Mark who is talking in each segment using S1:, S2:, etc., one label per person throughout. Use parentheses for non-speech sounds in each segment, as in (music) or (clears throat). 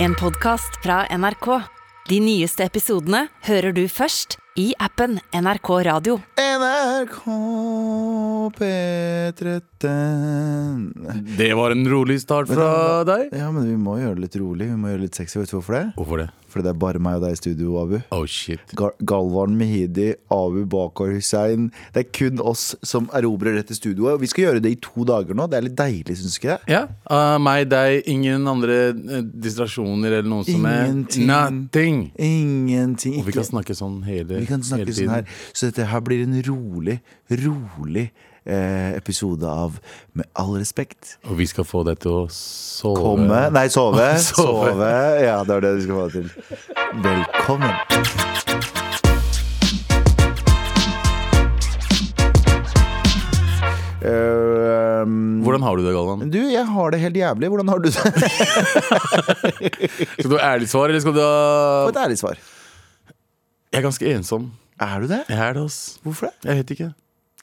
S1: En podcast fra NRK. De nyeste episodene hører du først i appen NRK Radio.
S2: NRK P13
S3: Det var en rolig start fra deg.
S2: Ja, men vi må gjøre det litt rolig. Vi må gjøre det litt sexy. Vet du hvorfor det?
S3: Hvorfor det?
S2: Fordi det er bare meg og deg i studio, Abu.
S3: Oh shit.
S2: Gal Galvan Mehidi, Abu Bakar Hussein. Det er kun oss som erobrer dette studioet. Og vi skal gjøre det i to dager nå. Det er litt deilig, syns du ikke det?
S3: Ja. eh, meg, deg, ingen andre eh, distraksjoner eller noe som er
S2: Ingenting.
S3: Nothing.
S2: Ingenting.
S3: Og vi
S2: Ikke-
S3: kan snakke sånn hele,
S2: vi kan
S3: hele
S2: snakke
S3: tiden.
S2: sånn her. Så dette her blir en rolig, rolig eh, episode av Med all respekt.
S3: Og vi skal få deg til å sove.
S2: Komme Nei, sove.
S3: Sove.
S2: (laughs) sove. Ja, det er det du skal få til. Velkommen. Eh, um,
S3: Hvordan har du det, Galvan?
S2: du, jeg har det helt jævlig. Hvordan har du det?
S3: Skal du ha ærlig svar, eller skal du ha
S2: Få (laughs) et ærlig svar.
S3: Jeg er ganske ensom.
S2: Er du det?
S3: Jeg er det, ass.
S2: Hvorfor det?
S3: Jeg vet ikke.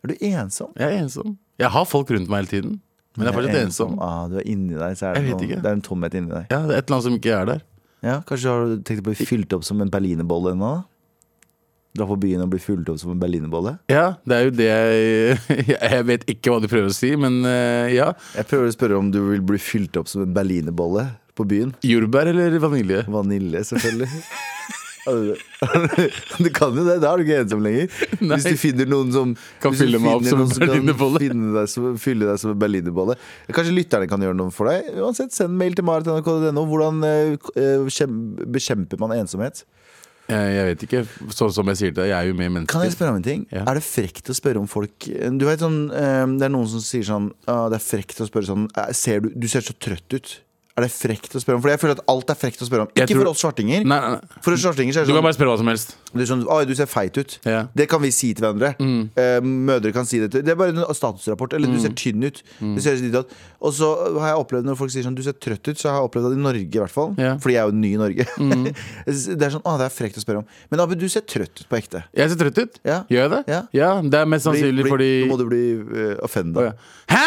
S2: Er du ensom?
S3: Jeg er ensom. Jeg har folk rundt meg hele tiden, men jeg er fortsatt ensom.
S2: Ah, du er inni deg, så er det,
S3: Jeg vet
S2: noe,
S3: ikke.
S2: det er en tomhet inni deg.
S3: Ja, det er et eller annet som ikke er der.
S2: Ja, Kanskje har du tenkt å bli fylt opp som en berlinerbolle ennå? da? Dra på byen og bli fylt opp som en berlinerbolle?
S3: Ja, det er jo det jeg (laughs) Jeg vet ikke hva du prøver å si, men eh, ja.
S2: Jeg prøver å spørre om du vil bli fylt opp som en berlinerbolle på byen.
S3: Jordbær eller vanilje?
S2: Vanilje,
S3: (laughs)
S2: selvfølgelig. Du kan jo det, (laughs) da er du ikke ensom lenger.
S3: Nei.
S2: Hvis du finner noen som
S3: Kan
S2: hvis du
S3: fylle meg opp
S2: finner
S3: som en
S2: noen kan
S3: berlinerbolle.
S2: finne deg som- Fylle deg som en berlinerbolle. Kanskje lytterne kan gjøre noe for deg. Uansett, Send mail til marit.nrk.no. Hvordan eh, k- eh, kjem- bekjemper man ensomhet?
S3: (laughs) Eh, Jeg vet ikke. Sånn som jeg sier til deg, jeg er jo med
S2: Kan jeg
S3: mennesker.
S2: spørre om en ting?
S3: Ja.
S2: Er det frekt å spørre om folk Du vet sånn, eh, Det er noen som sier sånn «Å, Det er frekt å spørre sånn «Eh, ser du, du ser så trøtt ut. Er det frekt å spørre om? For jeg føler at alt er frekt å spørre om.
S3: Jeg
S2: Ikke
S3: tror-
S2: for oss svartinger.
S3: Nei, nei, nei.
S2: For oss svartinger så er
S3: Du
S2: det
S3: kan
S2: sånn
S3: bare Mm. spørre hva som helst.
S2: Du er sånn, Oi, du ser feit ut.
S3: Ja.
S2: Det kan vi si til hverandre. Eh, mødre kan si det til Det er bare en statusrapport. Eller
S3: Mm.
S2: du ser tynn ut. Du ser litt ut. Og så har jeg opplevd når folk sier sånn du ser trøtt ut, så har jeg opplevd det i Norge i hvert fall.
S3: Ja. Mm.
S2: Fordi jeg er jo ny i Norge. (laughs) det er sånn, å, det er frekt å spørre om. Men Abu, du ser trøtt ut på ekte.
S3: Jeg ser trøtt ut.
S2: Ja.
S3: Gjør jeg det?
S2: Ja.
S3: Det er mest
S2: Bli-
S3: sannsynlig
S2: bli-
S3: fordi
S2: Nå må du bli uh, offenda.
S3: Å, ja. Hæ?!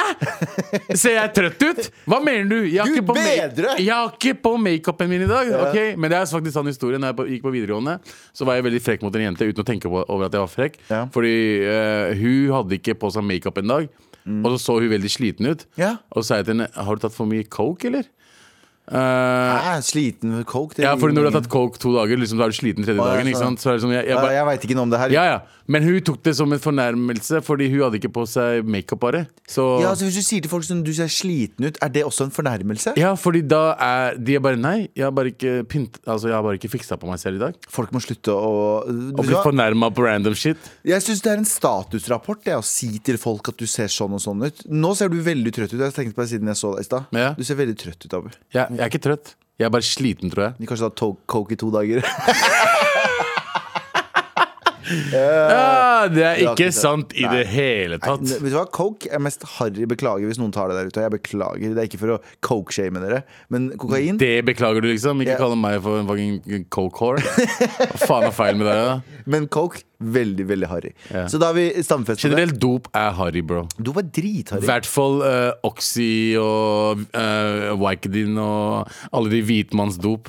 S3: Ser jeg trøtt ut? Hva mener du? Jeg har
S2: Gud
S3: ikke på ma-
S2: bedre!
S3: Jeg har ikke på makeupen min i dag. Ok, Men det er faktisk sann historie. Når jeg på- gikk på videregående, så var jeg veldig frekk mot en jente uten å tenke på, over at jeg var frekk.
S2: Ja.
S3: Fordi eh, hun hadde ikke på seg makeup en dag, og så så hun veldig sliten ut.
S2: Mm. Ja.
S3: Og så sa jeg til henne Har du tatt for mye coke, eller? Eh,
S2: Jeg er sliten med coke. det
S3: Ja,
S2: gir
S3: for når du har
S2: ingen-
S3: tatt coke to dager, liksom, da er du sliten tredje
S2: Å, ja,
S3: dagen. ikke
S2: sånn.
S3: sant? Så er det sånn, jeg, jeg
S2: Nei,
S3: bare,
S2: Jeg veit ikke noe om det her.
S3: ja, ja. Men hun tok det som en fornærmelse, fordi hun hadde ikke på seg makeup bare. Så
S2: Ja,
S3: ja,
S2: altså, hvis du sier til folk sånn du ser sliten ut, er det også en fornærmelse?
S3: fordi da er de er bare Nei, jeg har bare ikke pynt Altså, jeg har bare ikke fiksa på meg selv i dag.
S2: Folk må slutte å
S3: Og blitt fornærma på random shit.
S2: Jeg syns det er en statusrapport det, å si til folk at du ser sånn og sånn ut. Nå ser du veldig trøtt ut. Jeg tenkte på det siden jeg så deg i stad.
S3: Ja.
S2: Du ser veldig trøtt ut, Abu.
S3: Jeg, jeg er ikke trøtt. Jeg er bare sliten, tror jeg.
S2: De kanskje har tatt to- coke i to
S3: (laughs)
S2: dager.
S3: Ja, det er
S2: du har Eh, ikke
S3: ikke
S2: trøtt.
S3: sant i det
S2: Nei,
S3: hele tatt.
S2: n- Vet du hva, Coke er mest harry. Beklager hvis noen tar det der ute. Jeg beklager. Det er ikke for å coke-shame dere, men kokain
S3: Det beklager du, liksom. Ikke
S2: Ja.
S3: kalle meg for en fucking coke-whore. Hva faen er feil med
S2: (laughs)
S3: deg, da?
S2: Men coke, veldig, veldig harry.
S3: Ja.
S2: Så da har vi stamfestet det.
S3: Generelt dop er harry, bro.
S2: Du var
S3: I
S2: dritharry.
S3: hvert fall eh, Oxy og uh, Vicodin og alle de hvitmannsdop.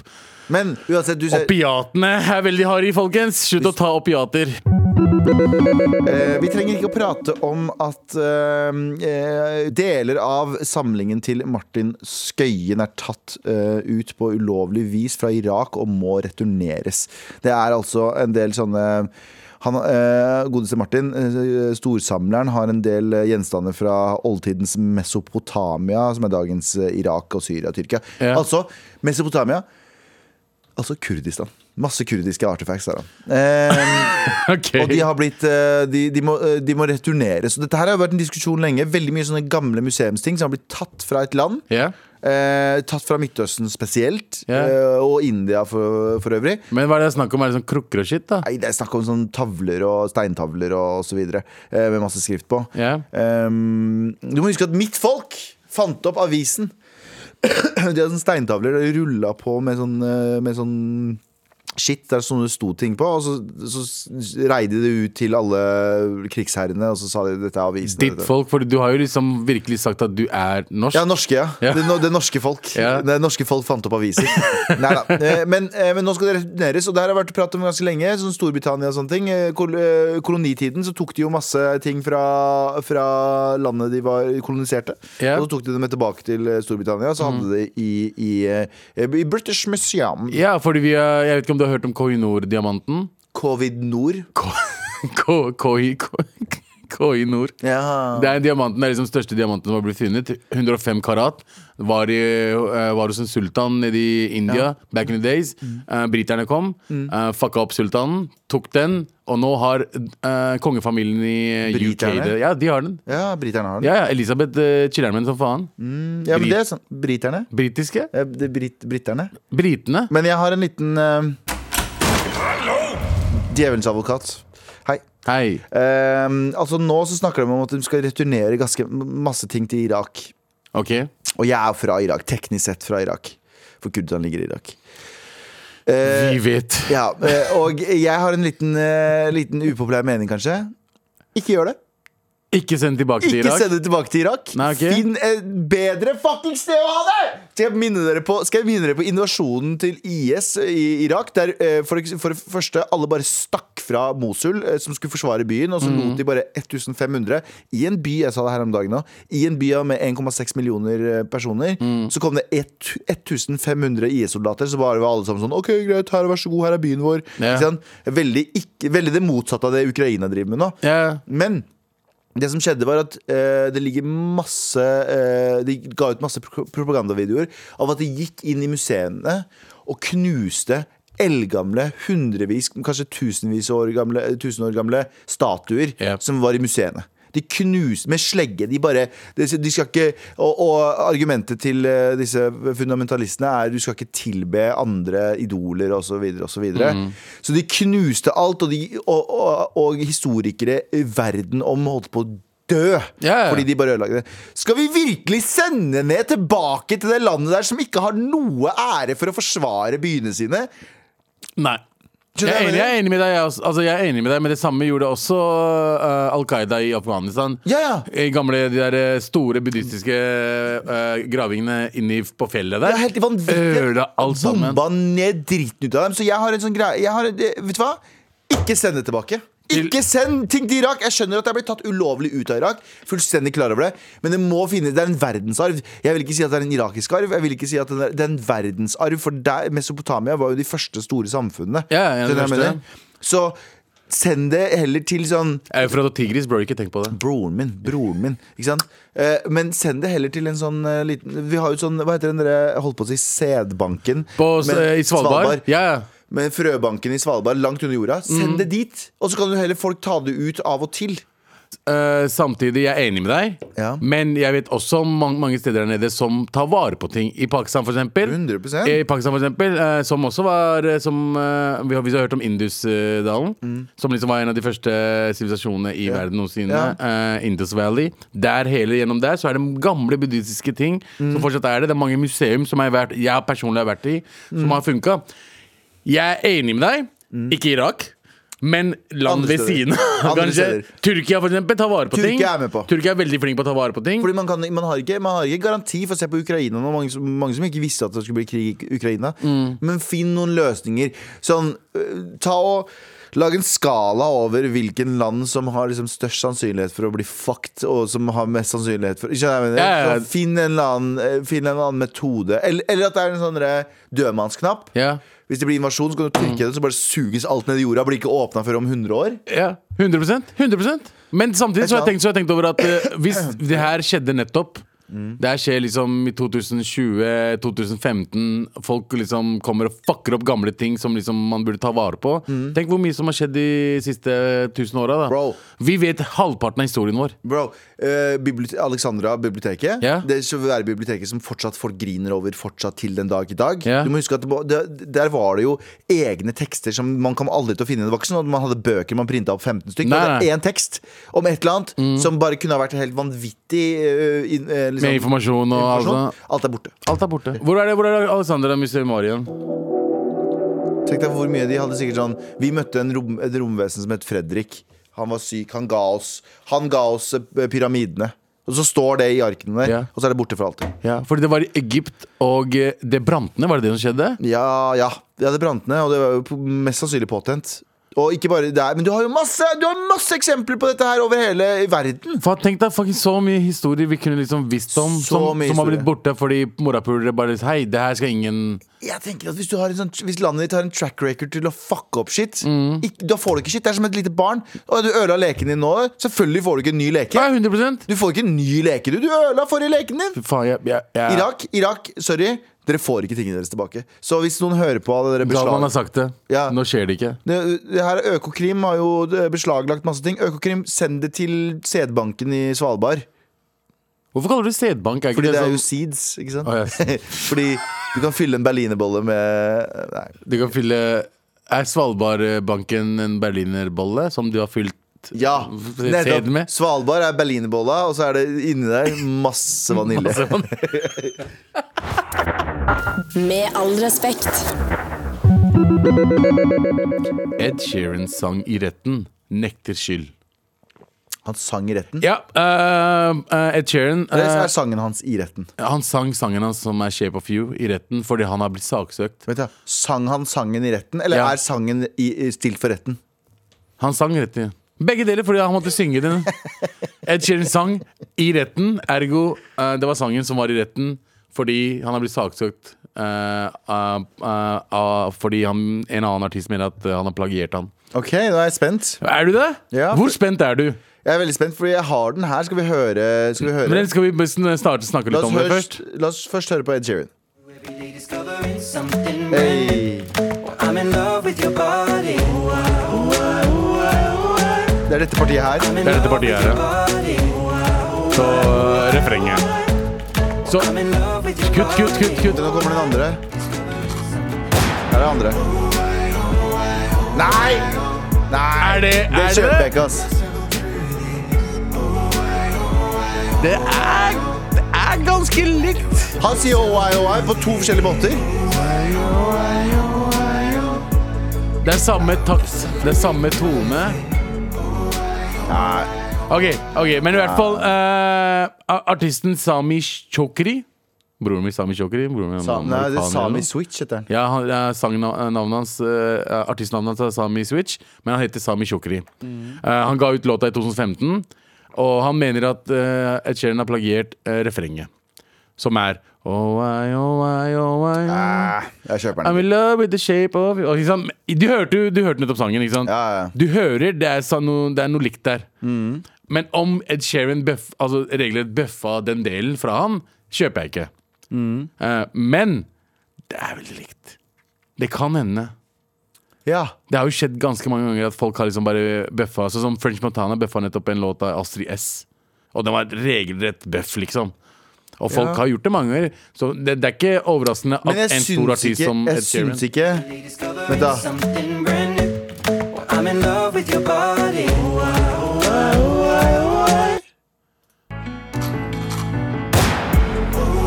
S2: Men uansett, du ser
S3: Opiatene er veldig harde, folkens! Slutt å ta opiater. (laughs)
S2: Eh, vi trenger ikke å prate om at eh, eh, deler av samlingen til Martin Skøyen er tatt eh, ut på ulovlig vis fra Irak og må returneres. Det er altså en del sånne han, eh, godeste Martin, eh, storsamleren, har en del eh, gjenstander fra oldtidens Mesopotamia, som er dagens eh, Irak og Syria og Tyrkia.
S3: Ja.
S2: Altså Mesopotamia, altså Kurdistan. Masse kurdiske artifacts der, da. Eh,
S3: Ok.
S2: og
S3: (laughs)
S2: de har blitt eh, de, de, må, eh, de må returneres. Og dette her har jo vært en diskusjon lenge. Veldig mye sånne gamle museumsting som har blitt tatt fra et land.
S3: Ja.
S2: eh, tatt fra Midtøsten spesielt,
S3: Ja.
S2: eh, og India for, for øvrig.
S3: Men hva er det snakk om? Er det sånn krukker og shit, da?
S2: Nei, det er snakk om sånn tavler og steintavler og så videre, eh, med masse skrift på.
S3: Ja.
S2: Ehm, du må huske at mitt folk fant opp (clears throat) avisen. De hadde sånne steintavler der de rulla på med sånn, eh, med sånn shit, det er sånne det sto ting på. Og så, så reide det ut til alle krigsherrene, og så sa de dette er avisen.
S3: Ditt folk, for du har jo liksom virkelig sagt at du er norsk.
S2: Ja, norske, ja.
S3: Ja.
S2: Det, no, det norske folk.
S3: Ja.
S2: Det norske folk fant opp aviser. Neida. Eh, Men, eh, men nå skal det returneres, og det her har vært prat om ganske lenge. Sånn Storbritannia og sånne ting. Eh, Kol eh, kolonitiden så tok de jo masse ting fra, fra landet de var koloniserte.
S3: Ja. Mhm.
S2: Og så tok de det med tilbake til eh, Storbritannia, og så hadde de det i, i, eh, i British Museum.
S3: Ja, fordi vi er, Jeg vet ikke om du har hørt om Koinor-diamanten?
S2: Covid Nord.
S3: (laughs) Ko- Koi- Ko- Koinor.
S2: Ja.
S3: Det er diamanten, det er liksom største diamanten som har blitt funnet. 105 karat. Var, i, eh, var hos en sultan nede i India back in the days.
S2: Mm.
S3: Eh, briterne kom, eh, fucka opp sultanen, tok den, og nå har eh, kongefamilien i
S2: Briterne?
S3: UK det. Ja, de har den.
S2: ja, briterne har den.
S3: Ja, ja, Elisabeth uh, chiller'n med den som faen.
S2: Ja, men det er sånn. Briterne.
S3: Britiske?
S2: Eh, det er Brit briterne.
S3: Britene?
S2: Men jeg har en liten eh, Djevelens advokat. Hei.
S3: Hei.
S2: Eh, altså Nå så snakker de om at de skal returnere ganske masse ting til Irak.
S3: OK.
S2: Og jeg er fra Irak, teknisk sett fra Irak. For Kurdistan ligger i Irak.
S3: Vi vet.
S2: Ja, eh, Og jeg har en liten, eh, liten upopulær mening, kanskje. Ikke gjør det.
S3: Ikke send tilbake til
S2: Ikke
S3: Irak.
S2: send det tilbake til Irak.
S3: Nei, ok.
S2: Finn et bedre fuckings sted å ha det! Skal jeg minne dere på, skal jeg minne dere på invasjonen til IS i Irak? Der eh, for, eks- for det første alle bare stakk fra Mosul, eh, som skulle forsvare byen. Og så
S3: Mm.
S2: lot de bare 1500 i en by jeg sa det her om dagen nå, i en by med 1,6 millioner eh, personer.
S3: Mm.
S2: Så kom det et, 1500 IS-soldater, så bare var alle sammen sånn OK, greit, her, vær så god, her er byen vår.
S3: Ja.
S2: Ikke sant? Veldig, ikke, veldig det motsatte av det Ukraina driver med nå.
S3: Ja.
S2: Men det som skjedde var at eh, det ligger masse eh, De ga ut masse pro propagandavideoer av at de gikk inn i museene og knuste eldgamle, hundrevis, kanskje tusenvis år gamle, tusen år gamle statuer
S3: Ja.
S2: som var i museene. De knuste med slegge. De bare De, de skal ikke og, og argumentet til eh, disse fundamentalistene er du skal ikke tilbe andre idoler osv. Så, videre, og så, videre.
S3: Mm.
S2: så de knuste alt, og, de, og, og, og historikere i verden om holdt på å dø.
S3: Ja, ja.
S2: Fordi de bare ødelagte det. Skal vi virkelig sende ned tilbake til det landet der som ikke har noe ære for å forsvare byene sine?
S3: Nei. Jeg
S2: Skjønner
S3: er,
S2: du hva jeg mener?
S3: enig, jeg er enig med deg, jeg, også. altså, jeg er enig med deg, men det samme gjorde også øh, Al Qaida i Afghanistan.
S2: Ja, ja.
S3: I gamle de der øh, store buddhistiske øh, gravingene inni f- på fjellet der.
S2: Det er helt vanvittig.
S3: Øla alt sammen.
S2: Bomba ned dritten ut av dem. Så jeg har en sånn greie jeg har, en- Vet du hva? Ikke send det tilbake. Ikke send ting til Irak! Jeg skjønner at jeg blir tatt ulovlig ut av Irak. Fullstendig klar over det Men det må finne, det er en verdensarv. Jeg vil ikke si at det er en irakisk arv. Jeg vil ikke si at det er, det er en verdensarv For der, Mesopotamia var jo de første store samfunnene.
S3: Ja, ja, en av de
S2: Skjønner du hva jeg
S3: første.
S2: mener? Så send det heller til sånn
S3: Eufrat og Tigris, bro, ikke tenk på det.
S2: Broren min, broren min. Ikke sant? Eh, men send det heller til en sånn eh, liten Vi har jo et sånn, hva heter den dere holdt på å si, sædbanken?
S3: På,
S2: Men-
S3: øh, I Svalbard. Ja, Mm. ja.
S2: Med frøbanken i Svalbard, langt under jorda. Send det dit! Og så kan jo heller folk ta det ut av og til.
S3: Eh, samtidig, jeg er enig med deg,
S2: Ja.
S3: men jeg vet også om mange, mange steder der nede som tar vare på ting. I Pakistan, for eksempel.
S2: 100%.
S3: I Pakistan, for eksempel eh, som også var eh, som, eh, vi, har, vi har hørt om Indusdalen, som liksom var en av de første sivilisasjonene i verden noensinne.
S2: Mm. Ja.
S3: eh, Indus Valley. Der hele gjennom der så er det gamle buddhistiske ting
S2: Mm.
S3: som fortsatt er det. Det er mange museum som jeg, har vært, jeg personlig har vært i,
S2: Mm.
S3: som har funka. Jeg er enig med deg. Ikke Irak. Men land
S2: Andre
S3: ved
S2: steder.
S3: siden av.
S2: Andre
S3: Kanskje
S2: steder.
S3: Tyrkia for eksempel tar vare på
S2: Tyrkia
S3: ting.
S2: er med på.
S3: Tyrkia er veldig flink på å ta vare på ting.
S2: Fordi man, kan, man, har ikke, man har ikke garanti for å se på Ukraina nå. Mange, som- mange som ikke visste at det skulle bli krig i Ukraina.
S3: Mm.
S2: Men finn noen løsninger. Sånn, øh, ta og Lag en skala over hvilken land som har liksom størst sannsynlighet for å bli fucked. Og som har mest sannsynlighet for Skjønner du hva jeg mener?
S3: Ja, ja, ja.
S2: Så Finn en eller annen, eh, finn en eller annen metode. Eller, eller at det er en sånn derre dødmannsknapp.
S3: Ja. Mm.
S2: Hvis det blir invasjon, så kan du trykke det, så bare suges alt ned i jorda. Blir ikke åpna før om 100 år.
S3: Ja, 100, 100 Men samtidig så har jeg tenkt, så har jeg tenkt over
S2: (clears throat)
S3: at eh, hvis det her skjedde nettopp
S2: Mm.
S3: Det her skjer liksom i 2020-2015. Folk liksom kommer og fucker opp gamle ting som liksom man burde ta vare på. Tenk hvor mye som har skjedd de siste tusen åra. da.
S2: Mm. Bro.
S3: Vi vet halvparten av historien vår.
S2: Bro, eh, bibliot Alexandra biblioteket
S3: Ja.
S2: Det svære biblioteket som fortsatt folk griner over Fortsatt til den dag i dag
S3: Ja.
S2: Du må huske at det, var- det, der var det jo egne tekster Som man kom aldri til å finne Det var ikke sånn at man hadde bøker man printet opp 15 stykker
S3: Nei,
S2: Det var
S3: nei. Mm.
S2: en tekst om et eller annet Som bare kunne ha vært helt vanvittig eh, in- eh, liksom,
S3: Med informasjon og alt
S2: informasjon.
S3: sånt.
S2: Alt er borte
S3: Alt er borte. Hvor er det, hvor er det Alexandra Museum var igjen?
S2: Tenk deg hvor mye de hadde sikkert sånn Vi møtte en rom, et romvesen som het Fredrik. Han var syk. Han ga oss, han ga oss eh, pyramidene. Og så står det i arkene der,
S3: Ja.
S2: og så er det borte for alltid.
S3: Ja, fordi det var i Egypt, og eh, det brant ned, var det det som skjedde?
S2: Ja, ja. ja det brant ned, og det var jo på- mest sannsynlig påtent. Og ikke bare der, men du har jo masse, du har masse eksempler på dette her over hele verden.
S3: For Tenk deg fucking så mye historier vi kunne liksom visst om,
S2: Så
S3: som,
S2: mye
S3: som har
S2: historier.
S3: blitt borte fordi morapulere bare liksom, Hei, det her skal ingen
S2: Jeg tenker at hvis, du har en sånn, hvis landet ditt har en track record til å fucke opp shit ikke, Da får du ikke shit. Det er som et lite barn. Og du ødela leken din nå. Selvfølgelig får du ikke en ny leke.
S3: Ja, 100
S2: Du får ikke en ny leke, du. Du ødela forrige leken din.
S3: Faen, jeg, jeg, jeg
S2: Irak, Irak, sorry. Dere får ikke tingene deres tilbake. Så hvis noen hører på av dere
S3: Galvan har
S2: beslag
S3: sagt det.
S2: Ja.
S3: Nå skjer det ikke.
S2: det, det her er Økokrim har jo eh, beslaglagt masse ting. Økokrim, send det til sædbanken i Svalbard.
S3: Hvorfor kaller du sædbank? Er ikke
S2: Fordi det er
S3: sånn-
S2: jo seeds, ikke sant?
S3: Å, ja.
S2: (laughs) Fordi du kan fylle en berlinerbolle med Nei.
S3: Du kan fylle Er Svalbardbanken en berlinerbolle som du har fylt (laughs)
S2: Ja,
S3: sæd
S2: nettopp.
S3: med?
S2: Svalbard er berlinerbolla, og så er det inni der masse vanilje.
S3: Altså, man-
S4: Med all respekt.
S3: Ed Sheeran sang i retten nekter skyld.
S2: Han sang i retten.
S3: Ja, eh, eh, Ed Sheeran eh,
S2: Det er sangen hans i retten.
S3: Han sang sangen hans som er Shape of You i retten fordi han har blitt saksøkt.
S2: Vet du, sang han sangen i retten, eller
S3: Ja.
S2: er sangen i, i, stilt for retten?
S3: Han sang rett i Begge deler, fordi han måtte synge den. Ed Sheeran sang i retten, ergo eh, det var sangen som var i retten fordi han har blitt saksøkt. eh, av- av- av- fordi han, en annen artist mener at eh, han har plagiert han.
S2: Ok, nå er jeg spent.
S3: Er du det?
S2: Ja.
S3: Hvor spent er du?
S2: Jeg er veldig spent, fordi jeg har den her. Skal vi høre? Skal vi
S3: Men
S2: høre?
S3: den skal vi bare sn- starte å snakke
S2: La,
S3: litt
S2: oss
S3: om det
S2: først,
S3: først.
S2: la oss først høre på Ed Sheeran.
S5: Every day discovering something new.
S2: Hey.
S5: I'm in love with your body.
S2: Det er dette partiet her.
S3: Det er dette partiet her, ja.
S5: Body.
S3: Så eh, refrenget. Så
S5: I'm in love with your
S3: kutt, kutt, kutt, kutt.
S2: Nå kommer den andre. Her er den andre. Nei! Nei!
S3: Er det
S2: Det
S3: er
S2: kjøper jeg
S3: det?
S2: ikke, ass.
S3: Det er, det er ganske likt.
S2: Han sier OI, OI på to forskjellige måter.
S3: Det er samme takt, det er samme tone.
S2: Nei.
S3: Ok, ok, men i hvert fall eh, a- Artisten Sami Chokri Broren min Sami Chokri broren min, er
S2: Sa- Nei, det er
S3: amerikaner.
S2: Sami Switch heter den.
S3: Ja, han, ja, sangnavnet hans eh, Artistnavnet hans er Sami Switch Men han heter Sami Chokri
S2: Mm.
S3: Eh, Han ga ut låta i 2015 Og han mener at eh, Ed Sheeran har plagiert eh, refrenget Som er Oh, I, oh, I, oh, I, oh.
S2: Nei, jeg kjøper
S3: I'm
S2: den.
S3: in love with the shape of you. Og ikke sant? Du hørte, jo- du hørte nettopp sangen, ikke sant?
S2: Ja, ja.
S3: Du hører det er, sa- noe, det er noe likt der.
S2: Mm.
S3: Men om Ed Sheeran bøff, altså, regelrett bøffa den delen fra han, kjøper jeg ikke.
S2: Mm.
S3: Eh, men det er veldig likt. Det kan hende.
S2: Ja.
S3: Det har jo skjedd ganske mange ganger at folk har liksom bare bøffa. Sånn som French Montana bøffa nettopp en låt av Astrid S. Og den var et regelrett bøff, liksom. Og folk
S2: Ja.
S3: har gjort det mange ganger. Så det, det er ikke overraskende
S2: Men jeg
S3: at en stor
S2: syns
S3: artist
S2: ikke,
S3: som
S2: jeg
S3: Ed Sheeran
S2: syns ikke
S5: body. Discovering
S2: Vent da.
S5: something brand new. I'm in love with your body.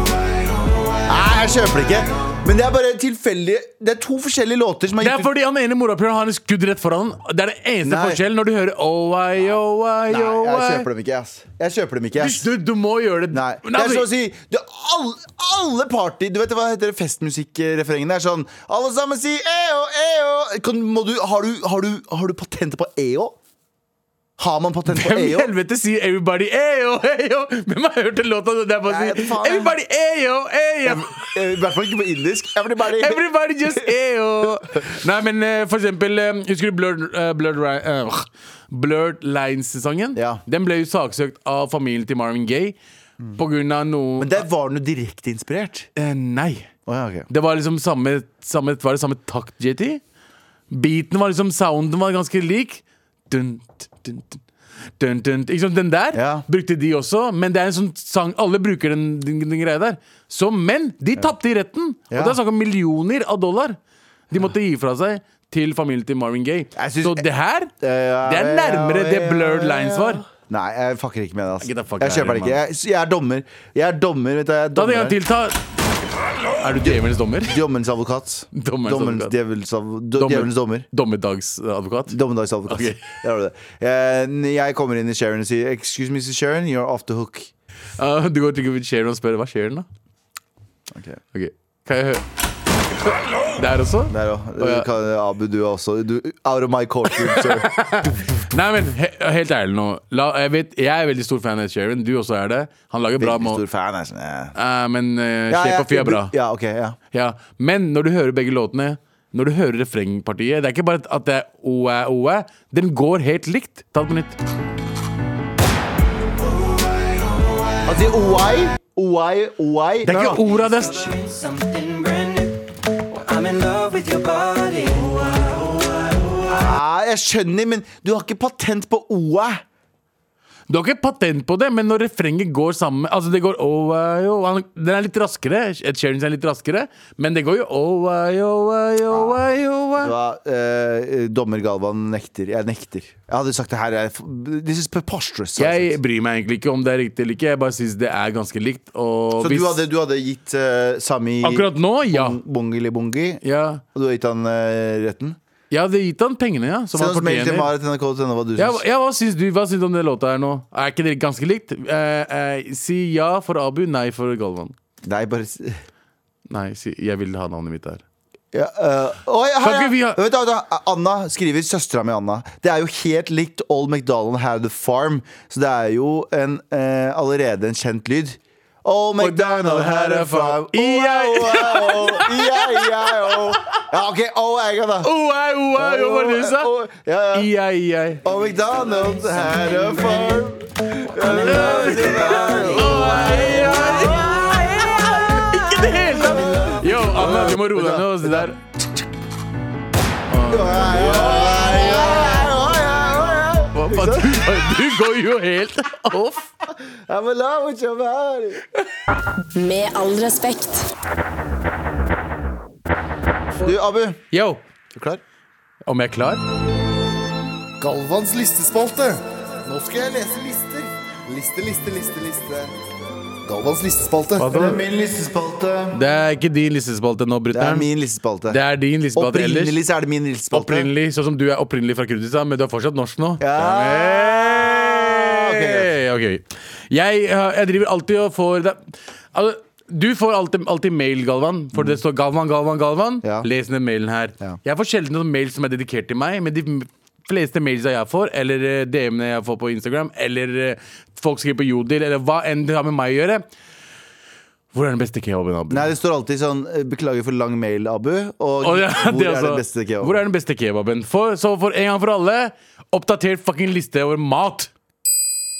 S2: Nei, jeg kjøper det ikke. Men det er bare tilfeldige Det er to forskjellige låter som er
S3: Det er fordi han ene morapuleren har en skudd rett foran. Det er det eneste
S2: Nei.
S3: forskjellen når du hører oh, I, oh, I,
S2: Nei,
S3: oh,
S2: jeg
S3: I.
S2: kjøper dem ikke, ass. Jeg kjøper dem ikke, ass.
S3: Du, du må gjøre det.
S2: Nei.
S3: Men
S2: Det er
S3: altså,
S2: så å si du, alle, alle party Du vet hva heter det festmusikkrefrengene? Det er sånn Alle sammen si EO, EO! Kan, må du, har, du, har, du, har du patent på EO? Har man patent på E
S3: Hvem i
S2: EO?
S3: helvete sier 'everybody E eyo, eyo'? Hvem har hørt den låta der bare
S2: Nei,
S3: sier
S2: faen.
S3: 'everybody E eyo, eyo'?
S2: Eh, I hvert fall ikke på indisk. Everybody.
S3: Everybody
S2: (laughs)
S3: just eyo. Nei, men eh, for eksempel eh, Husker du Blurred, eh, Blurred, Ri- eh, Blurred Lines-sesongen?
S2: Ja.
S3: Den ble jo saksøkt av familien til Marvin Gaye på grunn av noe
S2: Men der var den jo direkte inspirert.
S3: Eh, Nei.
S2: Å, ja, ok.
S3: Det var liksom samme, samme Var det samme takt, JT? Beaten var liksom Sounden var ganske lik. Dun, dun, dun. Dun, dun. Ikke sant, Den der
S2: Ja.
S3: brukte de også, men det er en sånn sang Alle bruker den, den, den greia der. Så, men de tapte i retten!
S2: Ja.
S3: Og det er snakk om millioner av dollar! De måtte gi fra seg til familien til Marvin Gaye.
S2: Jeg synes- Eh,
S3: Så det her Det
S2: Ja,
S3: er
S2: ja,
S3: nærmere
S2: ja,
S3: det
S2: ja,
S3: Blurred
S2: ja,
S3: Lines
S2: ja.
S3: var.
S2: Nei, jeg fucker ikke med det. ass.
S3: Get the fuck
S2: Jeg
S3: out
S2: kjøper
S3: of
S2: det
S3: here,
S2: ikke. Jeg, jeg er dommer. Jeg er dommer. Vet du, jeg er
S3: Ta det en
S2: dommer.
S3: gang til. Ta Er du djevelens dommer?
S2: Djommelens advokat.
S3: Dommerens
S2: Dommerens-
S3: advokat.
S2: djevelens adv- do- Djevelens dommer.
S3: Dommedagsadvokat?
S2: Dommedagsadvokat.
S3: Ok.
S2: (laughs) Der har du det. Eh, Jeg kommer inn i Sharon og sier 'Excuse me, Mrs. Sharon, you're off the hook'.
S3: Eh, du går til Gud Sharon og spør hva skjer den da?
S2: Okay.
S3: Ok, kan jeg høre? Der også?
S2: Der også.
S3: Å, ja.
S2: Du kan- Abu, du også. Du, out of my courtroom, sir.
S3: Nei, men he helt ærlig nå. La, jeg, vet, jeg er veldig stor fan av Sharon. Du også er det. Han lager (laughs) bra
S2: Veldig
S3: mål.
S2: stor fan. Jeg, sånn, eh.
S3: men uh,
S2: Ja,
S3: Shape
S2: ja,
S3: of You er bra.
S2: Ja, ok, ja.
S3: Ja. Men når du hører begge låtene, når du hører refrengpartiet Det er ikke bare at det er oe, oe. Den går helt likt. Ta det på nytt.
S2: Altså, OI, OI, OI
S3: Det er ikke orda det er
S5: Trying something brand new. I'm in love with your body.
S2: Ja, Jeg skjønner, men du har ikke patent på OI.
S3: Du har ikke patent på det, men når refrenget går sammen Altså, det går oh, eh, jo, han- Den er litt raskere. Ed Sheeran er litt raskere, men det går jo oh, eh, jo, eh, jo, eh, jo, eh.
S2: Da, eh, dommer Galvan nekter. Jeg nekter. Jeg hadde sagt det her er This is preposterous. altså. har jeg
S3: Jeg
S2: sagt.
S3: bryr meg egentlig ikke om det er riktig eller ikke. Jeg bare syns det er ganske likt. Og
S2: Så
S3: hvis,
S2: du hadde, du hadde gitt eh, Sami
S3: Akkurat nå, ja.
S2: Bongeli-bongi,
S3: ja.
S2: og du har gitt han eh, retten?
S3: Jeg hadde gitt han pengene, ja. Som
S2: Send
S3: han
S2: oss mail til
S3: fortjener.
S2: maret.nrk.no hva du
S3: Ja,
S2: syns.
S3: ja, hva syns du Hva syns du om den låta her nå? Er ikke det ganske likt? Eh, eh, si ja for Abu, nei for Galvan.
S2: Nei, bare s-
S3: Nei, si, jeg vil ha navnet mitt der.
S2: ja, eh, oi, her,
S3: Kan ikke vi ha-
S2: ja. Vent, da, vent da. Anna skriver søstera mi Anna. Det er jo helt likt Old MacDonald Had The Farm, så det er jo en, eh, allerede en kjent lyd. Old MacDonald had a farm.
S3: I-
S2: Oh, E-I-I-O. Ja, OK. Oh, jeg kan da.
S3: Oh, ei, oh, ei, oh, hva var det du sa?
S2: Oh, ja, ja.
S3: I, ei, i, ei.
S2: Oh, McDonald's had a farm. Oh,
S3: Oh, ei, ei. Ikke i det hele tatt! Yo, Anna, vi må roe deg ned. Det der Hva faen? Du- Du går jo helt off.
S2: I'm in love with your body.
S4: Med all respekt.
S2: Du, Abu.
S3: Yo,
S2: Du klar?
S3: om jeg er klar?
S6: Galvans listespalte. Nå skal jeg lese lister. Liste, liste, liste, liste. Galvans listespalte.
S2: Det er min listespalte.
S3: Det er ikke din listespalte nå,
S2: Det er
S3: brutter'n.
S2: min listespalte.
S3: Det er din listespalte ellers.
S2: Opprinnelig så er det min listespalte.
S3: Opprinnelig, sånn som du er opprinnelig fra Kurdistan, men du er fortsatt norsk nå.
S2: Ja. Ok, greit.
S3: Hey, ok. Jeg, har- jeg driver alltid og får det, altså, Du får alltid, alltid mail, Galvan, for det står Galvan, Galvan, Galvan.
S2: Mm. Ja.
S3: Les den mailen her.
S2: Ja.
S3: Jeg får sjelden noen mail som er dedikert til meg, men de fleste mails jeg får, eller eh, DM-ene jeg får på Instagram, eller eh, folk skriver på Jodel, eller hva enn det har med meg å gjøre Hvor er den beste kebaben? Abu?
S2: Nei, det står alltid sånn eh, 'Beklager for lang mail, Abu', og
S3: Å, ja,
S2: hvor
S3: det
S2: er
S3: også.
S2: den beste kebaben?
S3: Hvor er den beste kebaben? For, så for en gang for alle, oppdatert fucking liste over mat.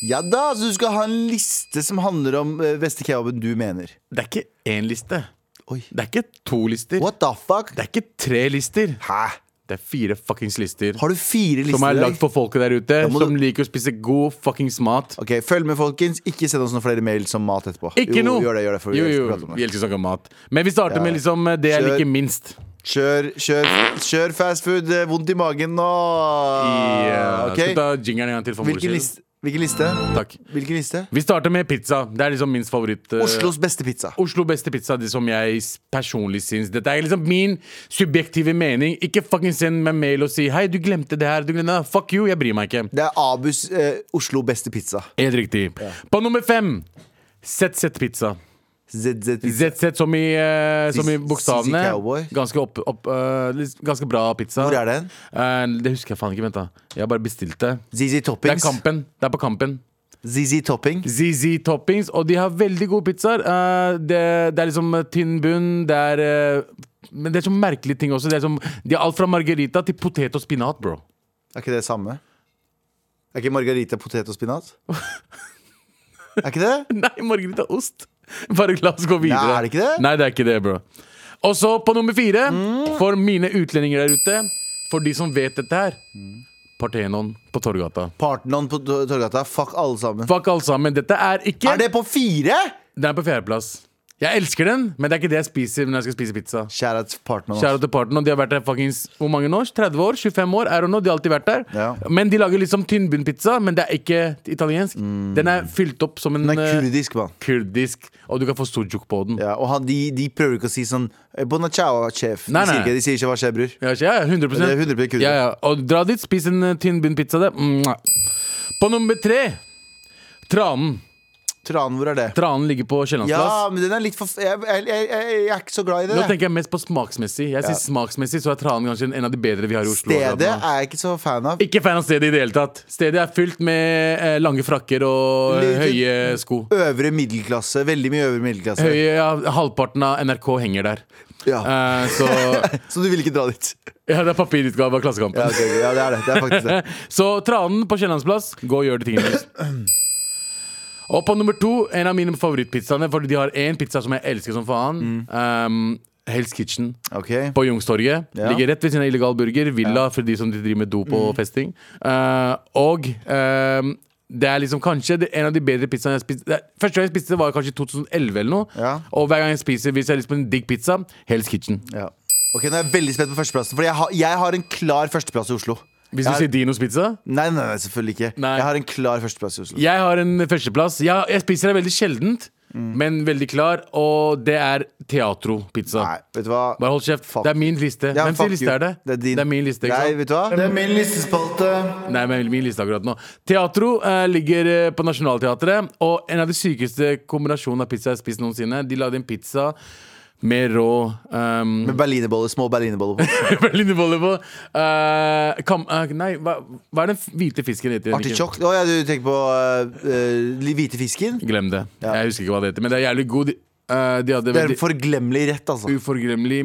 S2: Ja da, så du skal ha en liste som handler om eh, beste kebaben du mener.
S3: Det er ikke én liste.
S2: Oi.
S3: Det er ikke to lister.
S2: What the fuck?
S3: Det er ikke tre lister.
S2: Hæ?
S3: Det er fire fuckings lister.
S2: Har du fire lister?
S3: Som er
S2: i dag?
S3: lagd for folket der ute,
S2: må
S3: som
S2: du-
S3: liker å spise god fuckings mat.
S2: Ok, Følg med, folkens. Ikke send oss noen flere mail som mat etterpå.
S3: Ikke
S2: jo,
S3: noe!
S2: Gjør det, gjør det, for vi
S3: jo,
S2: elsker
S3: jo,
S2: å prate om
S3: vi
S2: det.
S3: elsker å snakke om mat. Men vi starter med liksom det jeg
S2: Kjør.
S3: liker minst.
S2: Kjør, kjør, kjør fast food. eh, Vondt i magen nå.
S3: I, eh,
S2: Ah, Ok.
S3: Skal vi ta jingeren en gang til for moro
S2: Hvilken
S3: skyld?
S2: liste? Hvilken liste?
S3: Takk.
S2: Hvilken liste?
S3: Vi starter med pizza. Det er liksom minst favoritt. eh,
S2: Oslos beste pizza.
S3: Oslo beste pizza, det som jeg s- personlig syns. Dette er liksom min subjektive mening. Ikke fucking send meg mail og si 'hei, du glemte det her'. Du glemte det. her». Fuck you, jeg bryr meg ikke.
S2: Det er Abus eh, Oslo beste pizza.
S3: Helt riktig. På nummer fem ZZ Pizza.
S2: ZZ Pizza.
S3: ZZ som i, eh, som i
S2: ZZ Cowboy.
S3: bokstavene. Ganske, opp, opp, eh, litt- ganske bra pizza.
S2: Hvor er den?
S3: Eh, det husker jeg faen ikke. Vent, da. Jeg har bare bestilt det.
S2: ZZ
S3: Det er
S2: Toppings.
S3: Kampen. Det er på Kampen.
S2: ZZ Topping.
S3: ZZ Toppings, og de har veldig gode pizzaer. Eh, det, det er liksom eh, tynn bunn, det er eh, Men det er så merkelige ting også. Det er som, de har alt fra margarita til potet og spinat, bro.
S2: Er ikke det samme? Er ikke margarita potet og
S3: (laughs)
S2: spinat? Er ikke det?
S3: (laughs) Nei, margarita og ost. Bare la oss gå videre.
S2: Nei, er det ikke det? Mm.
S3: Nei, det er ikke det, bro. Og så på nummer fire, for mine utlendinger der ute, for de som vet dette her, Parthenon på Torgata.
S2: Partenon på Tor- Torgata. Fuck alle sammen.
S3: Fuck alle sammen, dette er ikke
S2: Er det på fire?!
S3: Den er på fjerdeplass. Jeg elsker den, men det er ikke det jeg spiser når jeg skal spise pizza.
S2: Shout out partneren
S3: Shout out
S2: hans.
S3: til parten, og De har vært der fuckings hvor mange år? 30 år? 25 år? I don't know, de har alltid vært der.
S2: Ja.
S3: Men de lager liksom tynnbunnpizza, men det er ikke italiensk. Den er fylt opp som en
S2: Mm. Den er
S3: eh,
S2: kurdisk, mann.
S3: kurdisk, og du kan få sujuk på den.
S2: Ja,
S3: Ja.
S2: og han, de, de prøver ikke å si sånn eh, Bona ciao, sjef. De
S3: Nei, nei.
S2: sier ikke, de sier ikke hva skjer, bror.
S3: Ja, ja, 100,
S2: Det er 100% kurdisk.
S3: ja, ja. Og Dra dit, spis en eh, tynnbunnpizza der. Mwah. På nummer tre tranen.
S2: Tranen, hvor er det?
S3: Tranen ligger på Kiellandsplass.
S2: Ja, men den er litt for f- jeg, jeg, jeg, jeg er ikke så glad i det.
S3: Nå
S2: jeg.
S3: tenker jeg mest på smaksmessig. Jeg sier smaksmessig så er tranen kanskje en av de bedre vi har i Oslo. akkurat
S2: Stedet
S3: nå.
S2: er jeg ikke så fan av.
S3: Ikke fan av stedet i det hele tatt. Stedet er fylt med eh, lange frakker og eh, høye sko.
S2: Øvre middelklasse. Veldig mye øvre middelklasse.
S3: Høye, ja, halvparten av NRK henger der.
S2: Ja.
S3: Eh, så
S2: (laughs) Så du vil ikke dra
S3: (laughs)
S2: dit?
S3: Ja, det er papirutgave av
S2: Ja,
S3: Klassekampen.
S2: ok, ok. ja det er det. Det er faktisk det.
S3: (laughs) Så Tranen på Kiellandsplass, gå og gjør de tingene deres. Og på nummer to, en av mine favorittpizzaene, fordi de har én pizza som jeg elsker som faen. Um, Hell's Kitchen
S2: Ok.
S3: på Youngstorget.
S2: Ja. Mm.
S3: Ligger rett ved siden av Illegal Burger. Villa for de som driver med dop og festing. Eh, og eh, det er liksom kanskje det- en av de bedre pizzaene jeg spiste. Det er- Første gang jeg spiste det var kanskje i 2011 eller noe.
S2: Ja.
S3: Og hver gang jeg spiser hvis jeg har lyst på en digg pizza, Hell's Kitchen.
S2: Ja. Ok, Nå er jeg veldig spent på førsteplassen, for jeg har, jeg har en klar førsteplass i Oslo. Jeg
S3: Hvis du
S2: har-
S3: sier Dinos pizza
S2: Nei, nei, nei, selvfølgelig ikke.
S3: Nei.
S2: Jeg har en klar førsteplass i Oslo.
S3: Jeg har en førsteplass. Jeg, jeg spiser det veldig sjeldent,
S2: Mm.
S3: men veldig klar. Og det er teatropizza.
S2: Nei, vet du hva?
S3: Bare hold kjeft.
S2: Fuck.
S3: Det er min liste.
S2: Ja,
S3: Hvem
S2: fuck
S3: sin liste
S2: you.
S3: er det?
S2: Det er din.
S3: min liste, ikke
S2: Nei,
S3: sant?
S2: vet du hva?
S6: Det er min listespalte.
S3: Nei, men min liste akkurat nå Teatro eh, ligger eh, på Nationaltheatret Og en av de sykeste kombinasjonene av pizza jeg har spist noensinne De lagde en pizza med rå
S2: (laughs)
S3: um,
S2: Med berlinerboller. Små berlinerboller på.
S3: Berlinerboller på Eh, kam, eh, Nei, hva, hva er den f- hvite fisken heter? Henrik?
S2: Artichokk. Å ja, du tenker på uh, hvite fisken?
S3: Glem det,
S2: Ja.
S3: jeg husker ikke hva det heter Men det er jævlig god De, eh, de hadde
S2: Det er
S3: veldig
S2: en forglemmelig rett, altså.
S3: uforglemmelig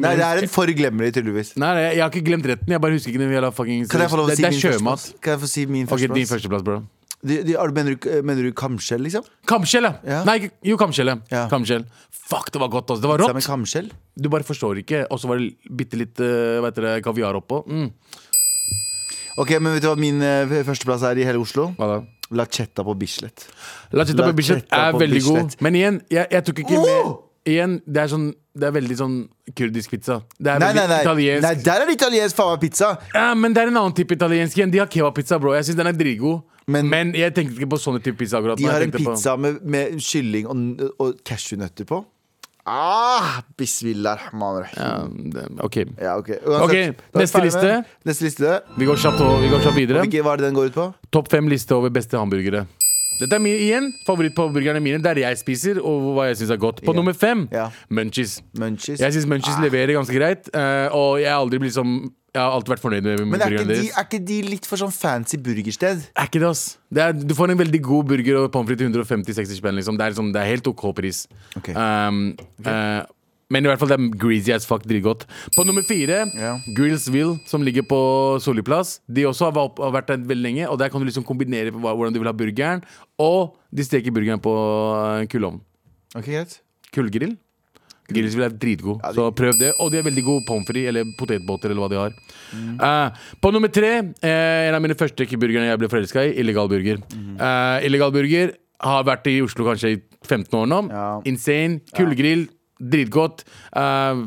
S2: Nei,
S3: men-
S2: det er en forglemmelig, tydeligvis.
S3: Nei, nei, jeg har ikke glemt retten Jeg bare husker ikke den jævla fucking
S2: Kan jeg få lov å
S3: det,
S2: si
S3: det er
S2: min
S3: sjømat
S2: førsteplass? Kan jeg få si min
S3: Ok, din
S2: førsteplass?
S3: førsteplass, bro
S2: Du- du- er du- mener, du, mener du kamskjell, liksom?
S3: Kamskjell, ja.
S2: Ja.
S3: Nei, ikke- jo, kamskjell, ja.
S2: Ja.
S3: Kamskjell. Fuck, det var godt, altså. Det var
S2: Pizza med
S3: rått.
S2: kamskjell?
S3: Du bare forstår ikke. Og så var det bitte litt eh, hva heter det, kaviar oppå. Mm.
S2: Ok, men vet du hva min eh, førsteplass er i hele Oslo?
S3: Hva da?
S2: Lachetta på Bislett.
S3: Lachetta på Bislett
S2: Lachetta
S3: er
S2: på
S3: veldig god.
S2: Bislett. Oh!
S3: Men igjen, jeg, jeg tok ikke med Igjen, det er, sånn, det er veldig sånn kurdisk pizza. Det er
S2: Nei,
S3: veldig
S2: nei, nei.
S3: italiensk.
S2: nei der er det italiensk faen meg pizza!
S3: Ja, men det er en annen type italiensk igjen. De har kebabpizza, bro. Jeg syns den er dritgod.
S2: Men-
S3: Men, jeg tenkte ikke på sånne type pizza akkurat.
S2: De
S3: nå.
S2: har
S3: Jeg
S2: en
S3: tenkte på-
S2: pizza med, med kylling og, og cashewnøtter på. Ah, Bismillah rahman rahim.
S3: Ja, Mm, det- OK.
S2: Ja, ok. da er
S3: Ok,
S2: vi ferdig
S3: neste
S2: med
S3: liste.
S2: Neste liste.
S3: Vi går kjapt, over- vi går kjapt videre.
S2: Hvilke, hva er det den går ut på?
S3: Topp fem liste over beste hamburgere. Dette er min, igjen favoritthamburgerne mine, der jeg spiser, og hva jeg syns er godt. På nummer fem,
S2: Ja.
S3: munchies.
S2: Munchies. Ah.
S3: Jeg syns munchies leverer ganske greit, eh, og jeg har aldri blitt som Jeg har alltid vært fornøyd med
S2: Men er ikke,
S3: burgerne
S2: de,
S3: deres.
S2: er ikke de litt for sånn fancy burgersted?
S3: Er ikke det, ass. Det er, du får en veldig god burger og pommes frites til 150-60 spenn, liksom. Det er, liksom, det er helt OK pris.
S2: Ok.
S3: Um, eh, men i hvert fall det er greasy as fuck dritgodt. På nummer fire,
S2: Ja.
S3: Grillsville, som ligger på Solli plass. De også har, va- har vært der veldig lenge, og der kan du liksom kombinere på hva- hvordan du vil ha burgeren. Og de steker burgeren på eh, kullovn.
S2: Ok, greit
S3: Kullgrill. Grillsville er dritgod,
S2: Ja, de-
S3: så prøv det. Og de er veldig gode pommes frites eller potetbåter eller hva de har. Eh, på nummer tre, eh, en av mine første burgerne jeg ble forelska i, Illegal Burger.
S2: Mhm.
S3: Eh, illegal Burger har vært i Oslo kanskje i 15 år nå.
S2: Ja.
S3: Insane. Kullgrill, dritgodt. Eh,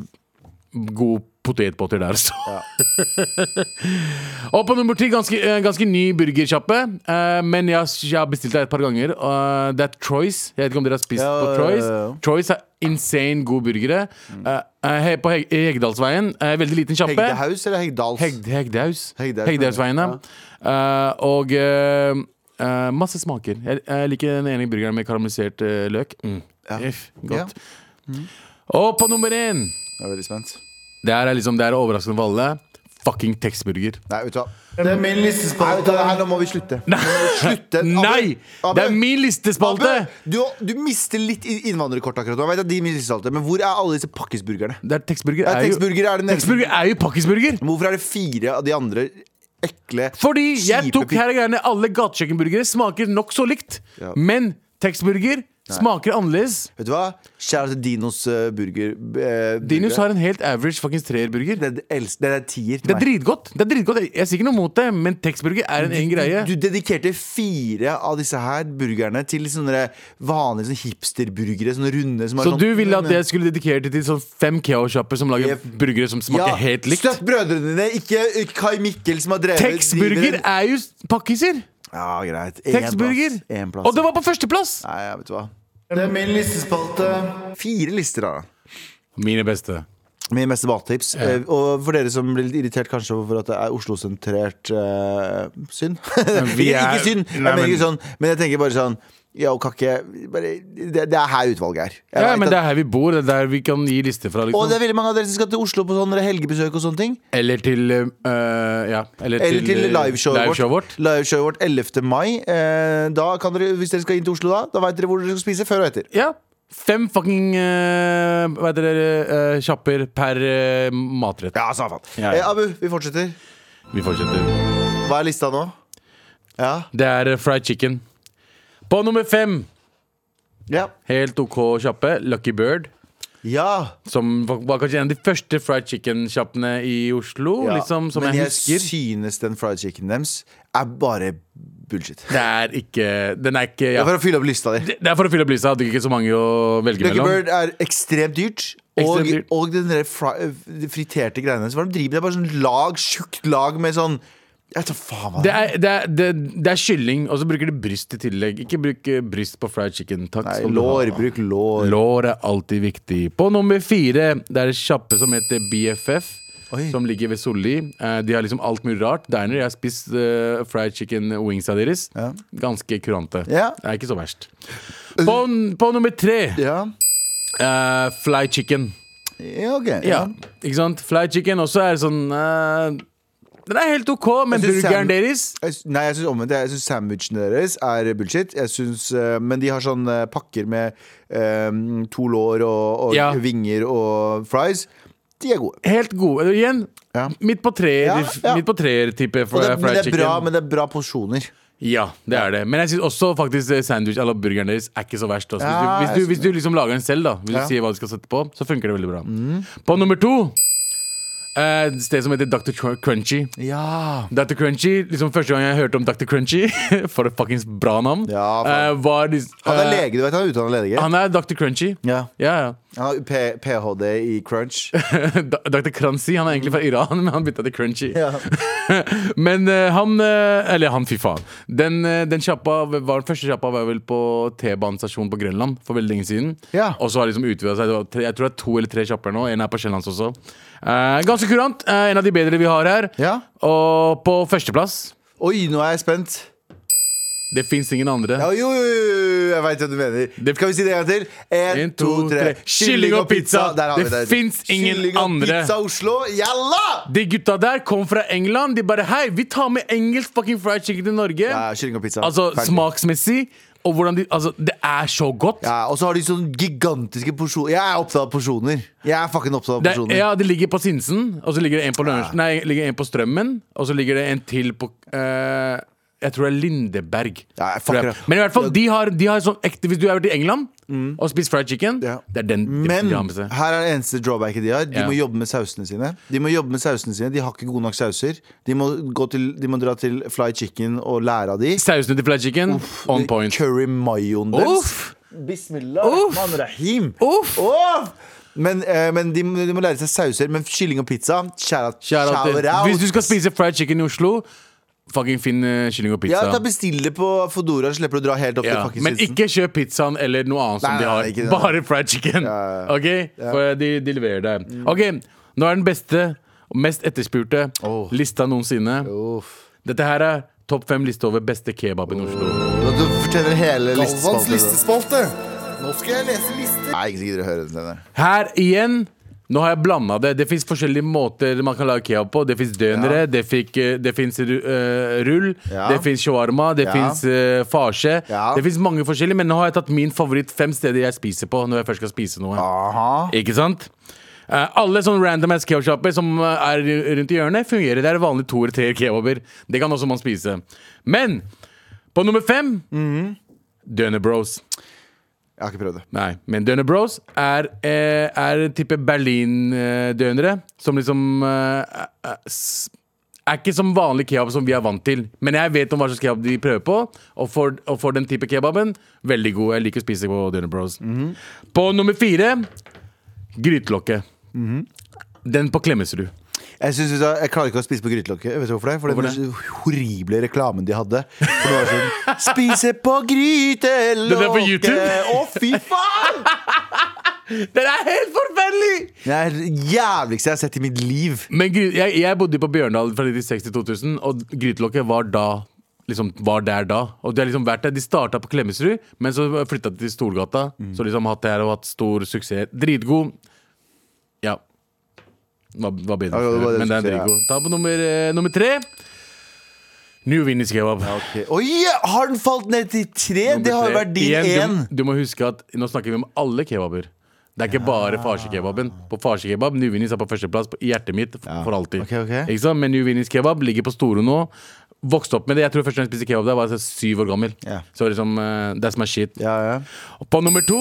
S3: god potetbåter der, altså. (laughs) Og på nummer ti, ganske, eh, ganske ny burgersjappe. Eh, men jeg, har- jeg har bestilt det et par ganger. og det er Troys. Jeg vet ikke om dere har spist
S2: Ja,
S3: på
S2: ja,
S3: Troys.
S2: ja, ja.
S3: Troys er insane gode burgere. Eh, eh, he- på Heg Hegdalsveien. eh, veldig liten sjappe.
S2: Hegdehaus eller Hegdals?
S3: Heg Hegdaus.
S2: Hegdaus,
S3: Hegdausveien, ja. Eh, og eh, eh, masse smaker. Jeg, jeg liker den ene burgeren med karamellisert eh, løk. Mm. Eff,
S2: Ja.
S3: godt. Og på nummer én
S2: Jeg er veldig spent
S3: Det her er liksom det her er overraskende for alle. Fucking Texburger.
S2: Nei, vet du hva
S6: Det er min
S2: Nei, vet du
S6: listespalte.
S2: hva, her nå må vi slutte Nå må vi slutte Abu,
S3: Nei!
S2: Abu,
S3: Det er min listespalte!
S2: Abu, du, du mister litt i- innvandrerkort akkurat nå Jeg vet at de mister listespalte Men hvor er alle disse pakkesburgerne?
S3: Det er Texburger
S2: Ja,
S3: er jo
S2: Texburger er det neste.
S3: Texburger er jo pakkisburger!
S2: Men Hvorfor er det fire av de andre ekle
S3: Fordi jeg
S2: kjipe
S3: tok
S2: pi-
S3: her er greiene alle gatekjøkkenburgere smaker nokså likt.
S2: Ja.
S3: Men Texburger Smaker annerledes.
S2: Vet du hva? Kjære til Dinos eh, burger. eh, burger.
S3: Dinus har en helt average fucking treerburger.
S2: Det er det eldste- det er tier. til
S3: Det er
S2: meg.
S3: dritgodt. det er dritgodt Jeg sier ikke noe mot det, men Texburger er en egen greie.
S2: Du dedikerte fire av disse her burgerne til sånne vanlige sånne hipsterburgere. Sånne runde som er
S3: Så
S2: sånn-
S3: du ville at jeg skulle dedikere det til sånn fem Keo-sjapper som lager
S2: Jeg-
S3: burgere som smaker
S2: Ja,
S3: helt likt?
S2: Støtt brødrene dine, ikke Kai Mikkel som har drevet
S3: Texburger
S2: driver-
S3: er jo s- pakkiser!
S2: Ja, greit. En
S3: Texburger!
S2: plass. En plass.
S3: Og det var på førsteplass!
S2: Nei, jeg vet hva. Det er min listespalte. Fire lister, da.
S3: Mine beste.
S2: Med mest mattips. Eh, Og for dere som blir litt irritert kanskje over at det er Oslo-sentrert eh, synd. (laughs)
S3: vi er-
S2: Ikke synd, jeg
S3: Nei,
S2: mener
S3: men-
S2: ikke sånn, men jeg tenker bare sånn Ja, og kakke bare, det, det er her utvalget er. Jeg
S3: Ja,
S2: vet
S3: men
S2: at-
S3: det er her vi bor. Det er der vi kan gi lister fra.
S2: Og det
S3: Liksom.
S2: er veldig mange av dere som skal til Oslo på sånne helgebesøk og sånne ting.
S3: Eller til eh, Ja. Eller,
S2: Eller til
S3: eh,
S2: liveshowet
S3: liveshowet
S2: vårt. Liveshowet vårt 11. mai. Eh, da kan dere, hvis dere skal inn til Oslo da, da veit dere hvor dere skal spise før og etter.
S3: Ja. Fem fucking eh, Hva heter det eh, sjapper per eh, matrett.
S2: Ja, samme faen.
S3: Ja, ja.
S2: Eh, Abu, vi fortsetter.
S3: Vi fortsetter.
S2: Hva er lista nå? Ja.
S3: Det er eh, fried chicken. På nummer fem,
S2: Ja.
S3: helt OK kjappe, Lucky Bird.
S2: ja.
S3: Som var, var kanskje en av de første fried chicken-sjappene i Oslo.
S2: ja.
S3: Liksom, som
S2: Men
S3: jeg
S2: jeg,
S3: husker.
S2: synes den fried chicken deres er bare bullshit.
S3: Det er ikke Den er ikke
S2: Det
S3: ja.
S2: er for å fylle opp lista di.
S3: Det det er for å fylle opp lista. Hadde ikke så mange å velge
S2: Lucky
S3: mellom.
S2: Bird er ekstremt dyrt. Og,
S3: Ekstremt dyrt.
S2: og den der fri, de friterte greiene hennes. Hva er det de driver med? Det er bare sånn lag, tjukt lag med sånn Jeg vet da faen hva
S3: Det er, det, er, det, det er kylling, og så bruker de bryst i tillegg. Ikke bruk eh, bryst på fried chicken. Takk
S2: Nei,
S3: skal du ha.
S2: lår. Bruk lår.
S3: Lår er alltid viktig. På nummer fire det er det kjappe som heter BFF.
S2: Oi.
S3: Som ligger ved Solli. Eh, de har liksom alt mulig rart. Diner. Jeg har spist eh, fried chicken wingsa deres.
S2: Ja.
S3: Ganske kurante.
S2: Ja.
S3: Det er ikke så verst. På, på nummer tre
S2: Ja.
S3: eh, fly chicken.
S2: ja, ok.
S3: Ja,
S2: Ja.
S3: ikke sant? Fly chicken også er sånn eh, Den er helt OK, men
S2: Jeg synes
S3: burgeren
S2: sam-
S3: deres
S2: Jeg sy- Nei, jeg syns omvendt. Jeg syns sandwichene deres er bullshit. Jeg synes, eh, men de har sånne pakker med eh, to lår og, og
S3: Ja.
S2: vinger og fries. De er gode.
S3: Helt gode. Og Igjen,
S2: Ja.
S3: midt på treer
S2: Ja, ja.
S3: Midt på treer-type
S2: Og det,
S3: fried
S2: men, det er
S3: chicken.
S2: bra, men det er bra porsjoner.
S3: Ja, det er det. Men jeg synes også faktisk eh, sandwich eller burgeren deres er ikke så verst. Også.
S2: Ja, jeg
S3: Hvis, du, hvis, du, hvis du liksom lager den selv, da hvis
S2: Ja. Mm.
S3: du sier hva du skal sette på, så funker det veldig bra. På nummer to eh, et sted som heter Dr. Cr- Crunchy.
S2: Ja.
S3: Dr. Crunchy, liksom Første gang jeg hørte om Dr. Crunchy, (laughs) for et fuckings bra navn
S2: Ja, faen.
S3: eh, var, lis-
S2: Han er
S3: eh,
S2: lege, du vet. Han er utdannet lege.
S3: Han er Dr. Crunchy.
S2: ja.
S3: Ja, ja.
S2: Han har P ph.d. i crunch.
S3: (laughs) Da- Dr. Kranzi, han er egentlig fra Iran, men han bytta til Crunchy.
S2: Ja.
S3: (laughs) Men eh, han eh, Eller han, fy faen. Den, eh, den, kjappa var, den første sjappa var vel på T-banestasjonen på Grønland for veldig lenge siden.
S2: Ja.
S3: Og så har det liksom utvida seg. Det var tre, jeg tror det er to eller tre sjapper nå. En er på Sjællands også. Eh, ganske kurant. eh, en av de bedre vi har her.
S2: Ja.
S3: Og på førsteplass
S2: Oi, nå er jeg spent.
S3: Det fins ingen andre.
S2: Ja, jo, jo, jo, jo, jeg veit hva du mener.
S3: Det-
S2: Skal vi si det en gang til? Én,
S3: En, to, tre. Kylling og pizza.
S2: Der har vi
S3: Det
S2: det
S3: finnes ingen
S2: Kylling og
S3: andre.
S2: Pizza Oslo, jalla!
S3: De gutta der kom fra England. De bare Hei, vi tar med engelsk fucking fried chicken til Norge.
S2: Ja, kylling og pizza.
S3: Altså
S2: Ferdig.
S3: smaksmessig og hvordan de Altså, det er så godt.
S2: Ja, og så har de sånne gigantiske porsjoner. Jeg er opptatt av porsjoner. Jeg er fucking opptatt av
S3: Det,
S2: porsjoner.
S3: ja, det ligger på Sinsen, og så ligger det en på, Lørensen- nei, ligger en på Strømmen, og så ligger det en til på eh, Jeg tror det er Lindeberg.
S2: Ja, jeg
S3: Tror jeg.
S2: fucker det.
S3: Men i hvert fall, de har, de har sånn ekte Hvis du har vært i England og spist fried chicken,
S2: Ja.
S3: det er den de
S2: Men
S3: de har med seg.
S2: her er det eneste drawbacket de har. De
S3: Ja.
S2: må jobbe med sausene sine. De må jobbe med sausene sine De har ikke gode nok sauser. De må, gå til, de må dra til Fly Chicken og lære av de.
S3: Sausen til fried chicken, on point.
S2: Curry mayoen deres.
S3: Uff!
S2: Bismillah. Man rahim.
S3: Uff!
S2: Uff! Men, eh, men de, må- de må lære seg sauser. Men kylling og pizza, shout out.
S3: Shout out til-
S2: shout out.
S3: Hvis du skal spise fried chicken i Oslo, fucking finn eh, kylling og
S2: ja,
S3: pizza.
S2: da Bestill det på Fodora, så slipper du å dra helt opp
S3: Ja,
S2: til fucking
S3: Men
S2: Sinsen.
S3: ikke kjøp pizzaen eller noe
S2: Nei,
S3: annet som de
S2: nei,
S3: har.
S2: nei, ikke det.
S3: Bare fried chicken. Ok? For de, de leverer deg. Ok, nå er den beste og mest etterspurte lista noensinne.
S2: Uff.
S3: Dette her er topp fem liste over beste kebab i Oslo.
S2: Du forteller hele
S6: Galvans
S2: listespalten.
S6: listespalte. Nå skal jeg lese lister.
S2: Nei, ikke gidder å høre den senere.
S3: Her igjen nå har jeg blanda det. Det fins forskjellige måter man kan lage kebab på. Det fins dønere, det, fikk, eh, det fins rull,
S2: Ja.
S3: det fins shawarma, det
S2: Ja.
S3: finnes fins farse.
S2: Ja.
S3: Det fins mange forskjellige, men nå har jeg tatt min favoritt fem steder jeg spiser på når jeg først skal spise noe. Ikke sant? Eh, alle sånne random ass kebabshopper som eh, er ru- rundt i hjørnet, fungerer. Det er vanlig to eller tre kebaber. Det kan også man
S2: Mhm.
S3: spise. Men på nummer fem Døner Bros.
S2: Jeg har ikke prøvd det.
S3: Nei, men Døner Bros er, eh, er en type Berlin-dønere som liksom eh, er- s- er ikke som vanlig kebab som vi er vant til. Men jeg vet om hva slags kebab de prøver på, og for, og for den type kebaben, veldig god. Jeg liker å spise på Døner Bros. På nummer fire, grytelokket. Den på Klemetsrud.
S2: Jeg, synes, jeg klarer ikke å spise på grytelokket. Vet du hvorfor det? For
S3: Hvorfor
S2: den horrible reklamen de hadde. For noen år siden. Spise på grytelokket!
S3: Den er på YouTube.
S2: Å, fy faen!
S3: Den er helt forferdelig!
S2: Det er det jævligste jeg har sett i mitt liv.
S3: Men gry- jeg, jeg bodde på Bjørndal fra 1960 til 2000, og grytelokket var da Liksom var der da. Og det har liksom vært der. De starta på Klemetsrud, men så flytta de til Storgata.
S2: Mm.
S3: Så liksom hatt det her og hatt stor suksess. Dritgod. Ja. Hva, hva
S2: Ja,
S3: bedre?
S2: det var det
S3: men det er
S2: suksess, ja.
S3: dritgod. Ta på nummer, eh, nummer tre. New Vinnies kebab.
S2: Okay. Oi, har den falt ned til tre? det har jo vært din
S3: Igjen,
S2: én.
S3: Du, du må huske at nå snakker vi om alle kebaber. Det er ikke bare farsekebaben. På farsekebab, New Vinnies er på førsteplass på- i hjertet mitt f- for alltid.
S2: Ok, ok.
S3: Ikke sant? Men New Vinnies kebab ligger på store nå. Vokste opp med det. Jeg tror første gang jeg spiste kebab der, var jeg syv år gammel.
S2: Ja.
S3: Så liksom, eh, that's my shit.
S2: Ja, ja.
S3: Og På nummer to,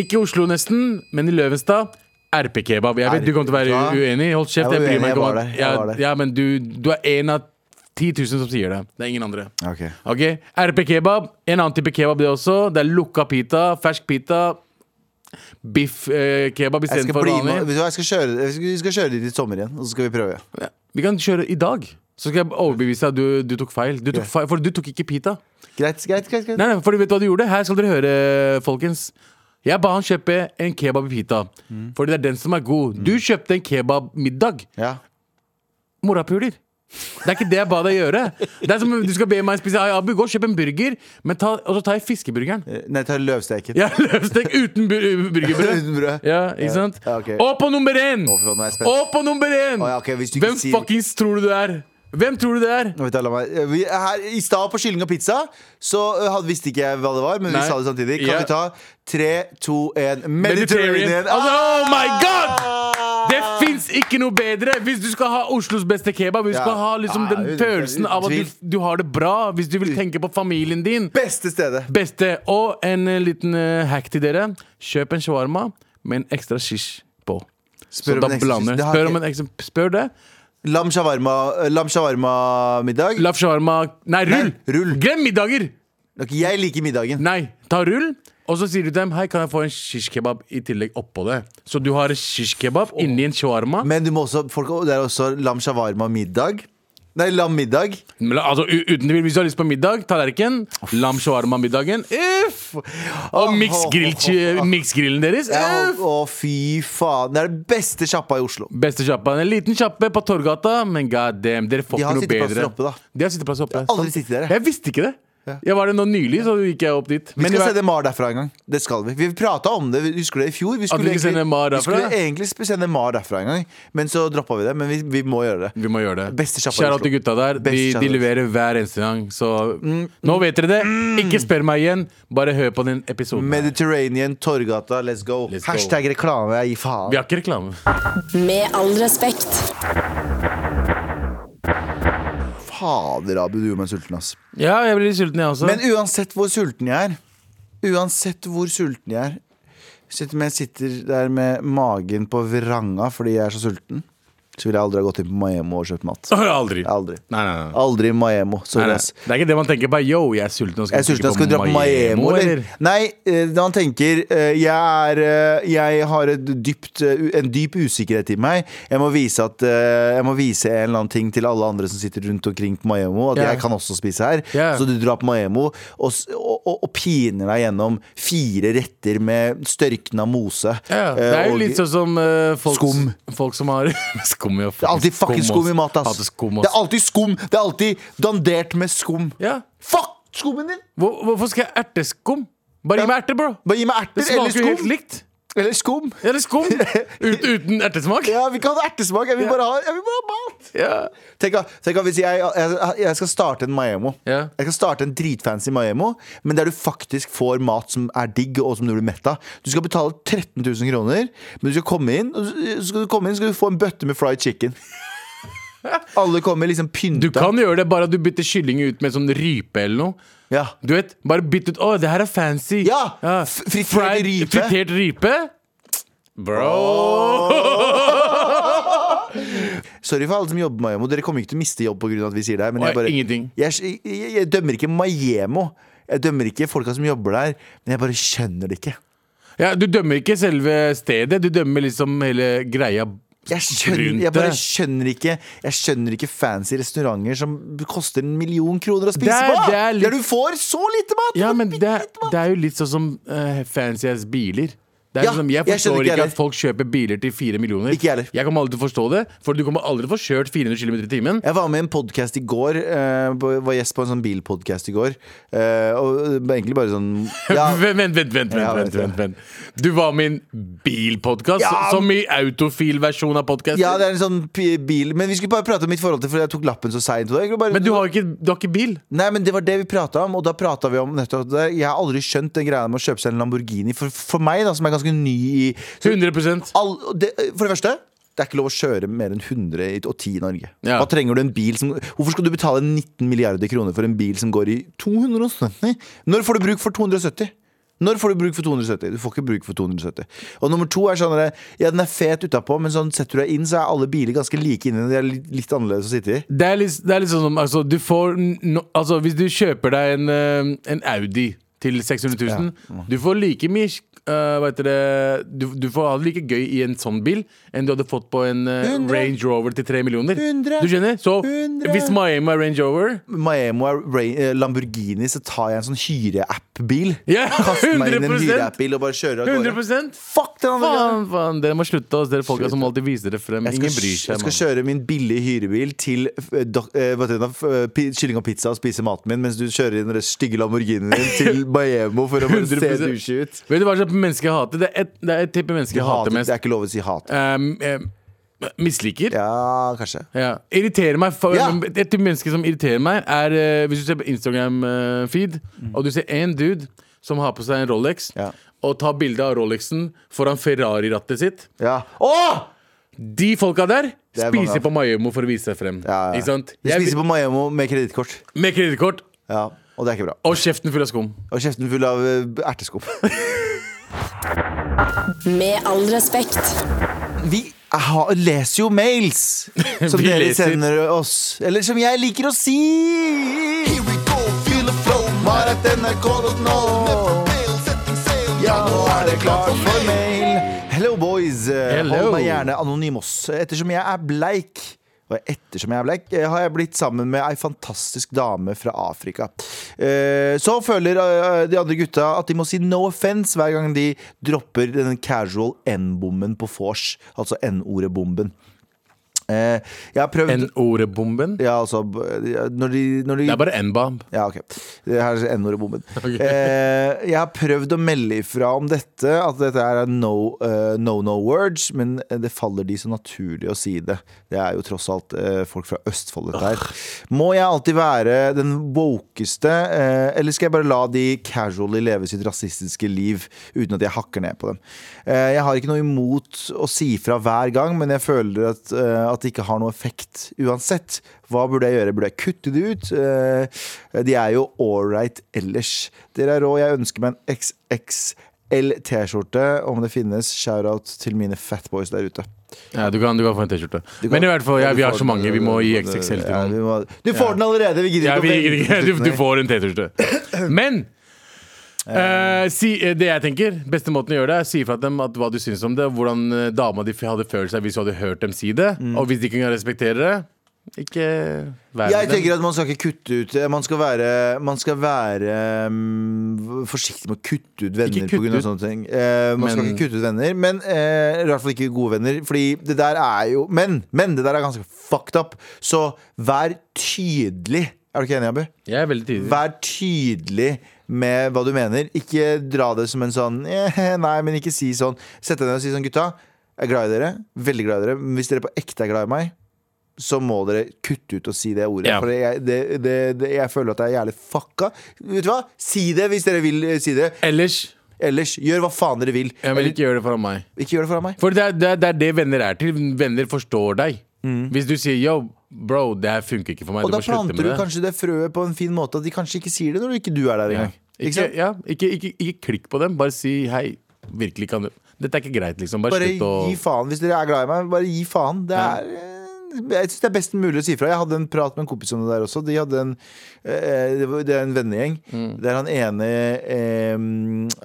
S3: ikke i Oslo nesten, men i Løvenstad. RP-kebab. Jeg vet du kommer til å være
S2: Ja.
S3: u- uenig. Hold kjeft.
S2: Jeg var uenig,
S3: bryr meg
S2: jeg
S3: ikke om
S2: var
S3: at-
S2: der, jeg var
S3: Ja,
S2: der.
S3: ja, men du, du er en av 10 000 som sier det. Det er ingen andre.
S2: Ok.
S3: Ok, RP kebab, en annen type kebab det også Det er lukka pita, fersk pita Biff eh, kebab i
S2: Jeg
S3: stedet
S2: skal
S3: for
S2: bli med,
S3: vanlig
S2: vet du hva, jeg skal kjøre, jeg skal, vi skal kjøre dit i sommer igjen, og så skal vi prøve.
S3: Ja, Vi kan kjøre i dag Så skal jeg overbevise deg at du, du tok feil Du tok feil, for du tok ikke pita
S2: Greit, greit, greit, greit.
S3: Nei, nei, for du vet hva du gjorde? Her skal dere høre, folkens Jeg ba han kjøpe en kebab i pita
S2: Mm.
S3: For det er den som er god Du kjøpte en kebab middag
S2: Ja.
S3: morapuler. Det er ikke det jeg ba deg gjøre. Det er som om Du skal be meg spise Abu, gå og kjøp en burger, men ta, og så tar jeg fiskeburgeren.
S2: Nei, ta løvsteken.
S3: Ja, løvstek uten bur burgerbrød.
S2: (laughs) Uten brød.
S3: Ja, ikke sant?
S2: Ja, ok.
S3: Og på nummer én!
S2: Å, fy faen, nå er jeg spent.
S3: Og på nummer én!
S2: Å, ja, ok, hvis du ikke
S3: Hvem
S2: sier-
S3: fuckings tror du du er? Hvem tror du det er?
S2: Nå vet jeg, la meg, vi, her, I stad på kylling og pizza Så uh, hadde, visste ikke jeg hva det var, men
S3: Nei.
S2: vi sa det samtidig. Kan
S3: Ja.
S2: vi ta 3, 2, 1
S3: Mediterranean.
S2: Mediterranean!
S3: Altså, oh my god!
S2: Ah!
S3: Det fins ikke noe bedre! Hvis du skal ha Oslos beste kebab, hvis du
S2: Ja.
S3: skal ha liksom,
S2: Ja, ja,
S3: den
S2: uten-
S3: følelsen av at
S2: uten
S3: du, du har det bra, hvis du vil tenke på familien din,
S2: Beste stedet!
S3: Beste, og en eh, liten eh, hack til dere. Kjøp en shawarma med en ekstra shish på.
S2: Spør
S3: så
S2: om
S3: da
S2: en ekstra shish.
S3: blander
S2: Det har
S3: Spør
S2: ikke-
S3: om en ekstra Spør det.
S2: Lam shawarma- eh, lam shawarma-middag.
S3: Laff shawarma Nei, rull!
S2: Nei, rull.
S3: Glem middager!
S2: Ok, jeg liker middagen.
S3: Nei, ta rull, og så sier du til dem Hei, kan jeg få en shish kebab i tillegg oppå det. Så du har en shish kebab inni en shawarma.
S2: Men du må også, folk, det er også lam shawarma-middag. Nei, lam middag.
S3: Men, altså, u- uten tvil, Hvis du har lyst på middag, tallerken. Lam shawarma-middagen. Uff! Og miksgrill- miksgrillen deres.
S2: Ja,
S3: Uff!
S2: Å, fy faen. Det er den beste sjappa i Oslo.
S3: Beste sjappa. En liten sjappe på Torgata, men god damn, dere får
S2: De har
S3: ikke noe bedre.
S2: sitteplasser oppe, da.
S3: De har sitteplasser oppe.
S2: Jeg har aldri
S3: Sant.
S2: sittet der, jeg.
S3: Jeg visste ikke det. Jeg var der nå nylig, så gikk jeg opp dit.
S2: Vi
S3: i
S2: skal
S3: hver-
S2: sende Mar derfra en gang. Det skal vi. Vi prata om det, husker du det, i fjor? Vi
S3: vi skal sende Mar
S2: vi
S3: derfra?
S2: skulle egentlig sp- sende Mar derfra en gang, men så droppa vi det. Men vi, vi må gjøre det.
S3: vi må gjøre det.
S2: Beste sjappa i
S3: Shout out
S2: Oslo.
S3: til gutta der.
S2: Beste
S3: De,
S2: sjappa i Oslo.
S3: de
S2: Mm,
S3: leverer hver eneste gang. Så nå vet dere det. Ikke spør meg igjen. Bare hør på den episoden.
S2: Mediterranean, Torgata, let's go.
S3: Let's go.
S2: Hashtag reklame, jeg gir faen.
S3: vi har ikke reklame.
S4: Med all respekt.
S2: Fader, Abu, du gjorde meg sulten, ass.
S3: Ja, jeg blir litt sulten, jeg også.
S2: Men uansett hvor sulten jeg er, uansett hvor sulten jeg er Sitter jeg sitter der med magen på vranga fordi jeg er så sulten, så ville jeg aldri ha gått inn på Maemo og kjøpt mat.
S3: Aldri.
S2: Aldri.
S3: Nei, nei, nei.
S2: Aldri Maemo.
S3: Nei,
S2: Sorry,
S3: nei.
S2: ass.
S3: Det er ikke det man tenker på. Yo, jeg er sulten. og
S2: Jeg er sulten, jeg skal dra på Maemo, eller? Nei, eh, da han tenker eh, jeg, er, eh, jeg har et dypt, eh, u- en dyp usikkerhet i meg. Jeg må vise at eh, Jeg må vise en eller annen ting til alle andre som sitter rundt omkring på Maemo, at
S3: Ja.
S2: jeg kan også spise her.
S3: Ja.
S2: Så du drar på Maemo og, s- og, og, og piner deg gjennom fire retter med størkna mose.
S3: Ja,
S2: Eh,
S3: det er jo
S2: og
S3: litt sånn som eh, folk,
S2: Skum.
S3: folk som har (laughs) Skum, ja.
S2: det er alltid fucking skum i mat, ass.
S3: Hater skum,
S2: Det er
S3: ass.
S2: alltid skum. Det er alltid dandert med skum.
S3: Ja.
S2: Fuck skummen din!
S3: Hvor, hvorfor skal jeg erteskum? Bare
S2: Ja.
S3: gi meg erter, bro.
S2: Bare gi meg
S3: Det
S2: erter eller
S3: smaker jo helt
S2: skum.
S3: likt.
S2: Eller skum.
S3: Eller
S2: (laughs)
S3: skum. Ut, uten ertesmak.
S2: Ja, vi kan ha ertesmak. Jeg vil bare ha, jeg vil bare ha mat.
S3: Ja.
S2: Tenk, at- tenk at hvis jeg, jeg, jeg skal starte en Maemo.
S3: Ja.
S2: Jeg skal starte en dritfancy Maemo, men der du faktisk får mat som er digg, og som du blir mett av. Du skal betale 13 000 (laughs) kroner, men du skal komme inn, og så skal du komme inn, så skal du få en bøtte med fried chicken. Alle kommer liksom pynta.
S3: Du kan gjøre det, bare at du bytter kylling ut med sånn rype eller noe.
S2: Ja.
S3: Du vet, Bare bytt ut 'Å, det her er fancy'.
S2: Ja, f- fritert
S3: Fried-
S2: rype.
S3: Fritert rype? Bro!
S2: Sorry for alle som jobber med Mayemo. Dere kommer ikke til å miste jobb pga. at vi sier det. her, Men
S3: Oi,
S2: jeg, bare,
S3: ingenting.
S2: Jeg, jeg, jeg dømmer ikke Mayemo. Jeg dømmer ikke folka som jobber der, men jeg bare skjønner det ikke.
S3: Ja, du dømmer ikke selve stedet, du dømmer liksom hele greia
S2: Jeg, skjønner,
S3: rundt
S2: jeg
S3: det.
S2: bare skjønner ikke Jeg skjønner ikke fancy restauranter som koster en million kroner å spise
S3: Det er-
S2: på!
S3: det er litt-
S2: Der du får så lite mat!
S3: Ja,
S2: Du får
S3: men
S2: bitte
S3: det,
S2: lite mat.
S3: det er jo litt sånn som eh, fancy ass biler. Det er
S2: Ja,
S3: liksom,
S2: jeg
S3: jeg
S2: skjønner
S3: forstår
S2: ikke
S3: ikke,
S2: heller.
S3: at folk kjøper biler til fire millioner.
S2: Ikke jeg heller.
S3: kommer aldri til å forstå det, for du kommer aldri til å få kjørt 400 km i timen.
S2: Jeg var med i en podkast i går. eh, på- var gjest på en sånn bilpodkast i går. eh, og det var egentlig bare
S3: (laughs)
S2: sånn ja,
S3: Vent, vent, vent, vent,
S2: Ja, vent,
S3: vent, vent, vent, vent. Du var med i en bilpodkast,
S2: Ja,
S3: som i autofil versjon av podkasten.
S2: ja, det er en sånn p- bil Men vi skulle bare prate om mitt forhold til For jeg tok lappen så seint.
S3: men du har, jo ikke, du har ikke bil.
S2: Nei, men det var det vi prata om, og da prata vi om nettopp det. Jeg har aldri skjønt den greia med å kjøpe seg en Lamborghini. For, for meg, da, som er ganske ny i så
S3: 100
S2: all, det, For det første, det er ikke lov å kjøre mer enn 100 i- og 10 i Norge.
S3: Ja.
S2: Hva trenger du en bil som Hvorfor skal du betale 19 milliarder kroner for en bil som går i 270? Når får du bruk for 270? Når får du bruk for 270? Du får ikke bruk for 270. Og nummer to er sånn at ja, den er fet utapå, men sånn setter du deg inn, så er alle biler ganske like inni. De er litt, litt annerledes å sitte i.
S3: Det er litt, det er litt sånn som altså, du får, n- no, altså, Hvis du kjøper deg en, eh, en Audi til 600 000,
S2: Mm.
S3: du får like mye eh, hva heter det, du, du får ha det like gøy i en sånn bil enn du hadde fått på en eh,
S2: 100.
S3: Range Rover til 3 millioner.
S2: 100.
S3: Du skjønner? Så
S2: 100.
S3: hvis Miami er Range Rover
S2: Maemo er Ra- eh, Lamborghini, så tar jeg en sånn hyreapp-bil.
S3: Ja,
S2: Kaster meg inn i en
S3: 100
S2: hyreapp-bil og bare kjører av gårde.
S3: 100
S2: Fuck den andre bilen.
S3: Faen, faen, dere må slutte, ass, dere folka som alltid viser dere frem.
S2: Jeg skal,
S3: Ingen bryr
S2: jeg skal
S3: seg. mann.
S2: kjøre min billige hyrebil til eh, dok- eh, hva heter det, da? F- pi- kylling og pizza og spise maten min, mens du kjører inn den stygge Lamborghinien din
S3: (laughs)
S2: til Maemo for å bare se
S3: 100%.
S2: douche ut.
S3: Vet du hva slags menneske jeg hater? Det er et, det er et type menneske
S2: Du
S3: jeg hater
S2: hater, det
S3: mest.
S2: er ikke lov å si hat.
S3: Um, em, misliker.
S2: Ja, kanskje.
S3: Ja. Irriterer meg for,
S2: Ja.
S3: Et type menneske som irriterer meg, er eh, hvis du ser på Instagram-feed, og du ser én dude som har på seg en Rolex,
S2: Mm. Ja.
S3: og tar bilde av Rolexen foran Ferrari-rattet sitt.
S2: Ja. Åh!
S3: De folka der
S2: Det er mange
S3: spiser
S2: av.
S3: på Mayomo for å vise seg frem.
S2: Ja, ja.
S3: Ikke sant?
S2: De
S3: Jeg,
S2: spiser på Maemo med kredittkort.
S3: med kredittkort
S2: Ja, og det er ikke bra.
S3: og kjeften full av skum.
S2: Og kjeften full av eh, erteskum.
S4: Med all respekt.
S2: Vi har, leser jo
S3: (laughs)
S2: mails som
S3: Vi
S2: dere
S3: leser.
S2: sender oss. Eller som jeg liker å si. Ja, nå er det klart for mail. Hello, boys.
S3: Hello.
S2: Hold meg gjerne anonymos. Ettersom jeg er bleik og ettersom jeg er bleik, eh, har jeg blitt sammen med ei fantastisk dame fra Afrika. Eh, Så føler eh, de andre gutta at de må si no offense hver gang de dropper den casual N-bomben på vors. Altså N-ordet bomben. Eh, Jeg har prøvd
S3: N-ordet-bomben.
S2: ja, altså, b- når de, når de
S3: Det er bare N-bomb.
S2: ja, ok. Det her er N-ordet bomben. Eh, jeg har prøvd å melde ifra om dette, at dette er no eh, no, no words, men det faller de så naturlig å si det. Det er jo tross alt eh, folk fra Østfold, dette her. Må jeg alltid være den wokeste, eh, eller skal jeg bare la de casually leve sitt rasistiske liv uten at jeg hakker ned på dem? Eh, jeg har ikke noe imot å si fra hver gang, men jeg føler at, eh, at det ikke har noe effekt uansett. Hva burde jeg gjøre? Burde jeg kutte det ut? Eh, De er jo ålreit ellers. Dere er rå. Jeg ønsker meg en XXL T-skjorte, om det finnes. Shout-out til mine fatboys der ute.
S3: Ja, du, kan, du kan få en T-skjorte.
S2: Du kan-
S3: Men i hvert fall, ja,
S2: du
S3: vi har
S2: får
S3: så mange. Vi må
S2: den-
S3: gi XXL til
S2: Ja, vi
S3: noen.
S2: må- Du får den allerede! Vi gidder
S3: Ja, vi,
S2: ikke å vente
S3: (laughs)
S2: til
S3: du, du
S2: slutten.
S3: får
S2: (clears throat)
S3: en T-skjorte. Men eh, si, eh, det jeg tenker, beste måten å gjøre det er si fra til dem at hva du syns om det, og hvordan eh, dama di hadde følt seg hvis du hadde hørt dem si det.
S2: Mm.
S3: Og hvis de ikke kan respektere det, ikke vær
S2: Jeg
S3: med dem.
S2: tenker at man skal ikke kutte ut Man skal være, man skal være mm, forsiktig med å kutte ut venner
S3: Ikke kutte
S2: på grunn av
S3: ut.
S2: sånne ting. Eh, man skal
S3: Men-
S2: ikke kutte ut venner, men eh, i hvert fall ikke gode venner. Fordi det der er jo Men, men det der er ganske fucked up. Så vær tydelig. Er du ikke enig, Abu?
S3: Jeg er veldig tydelig.
S2: Vær tydelig med hva du mener. Ikke dra det som en sånn «Eh, (laughs) Nei, men ikke si sånn. Sett deg ned og si sånn, gutta. Jeg er glad i dere. Veldig glad i dere. Men hvis dere på ekte er glad i meg, så må dere kutte ut og si det ordet.
S3: Ja.
S2: For jeg, det, det, det, jeg føler at jeg er jævlig fucka. Vet du hva? Si det hvis dere vil eh, si det.
S3: Ellers,
S2: Ellers, gjør hva faen dere vil.
S3: jeg vil ikke gjøre det foran meg.
S2: Ikke gjør det foran meg.
S3: For det er det, er, det er det venner er til. Venner forstår deg. Hvis du sier yo, Bro, det her funker ikke for meg.
S2: Mm. Og da
S3: du må slutte
S2: planter
S3: med
S2: du
S3: det.
S2: kanskje det frøet på en fin måte at de kanskje ikke sier det når ikke du er der
S3: Ja.
S2: engang. Ikke
S3: Ikke,
S2: sant?
S3: ja, ikke, ikke, ikke klikk på dem. Bare si hei. Virkelig kan du Dette er ikke greit, liksom. Bare,
S2: Bare
S3: slutt å
S2: gi faen hvis dere er glad i meg. Bare gi faen. Det er eh, jeg synes det er best mulig å si fra. Jeg hadde en prat med en kompis om det der også. De hadde en, eh, det var- det er en vennegjeng
S3: Mm.
S2: der han ene eh,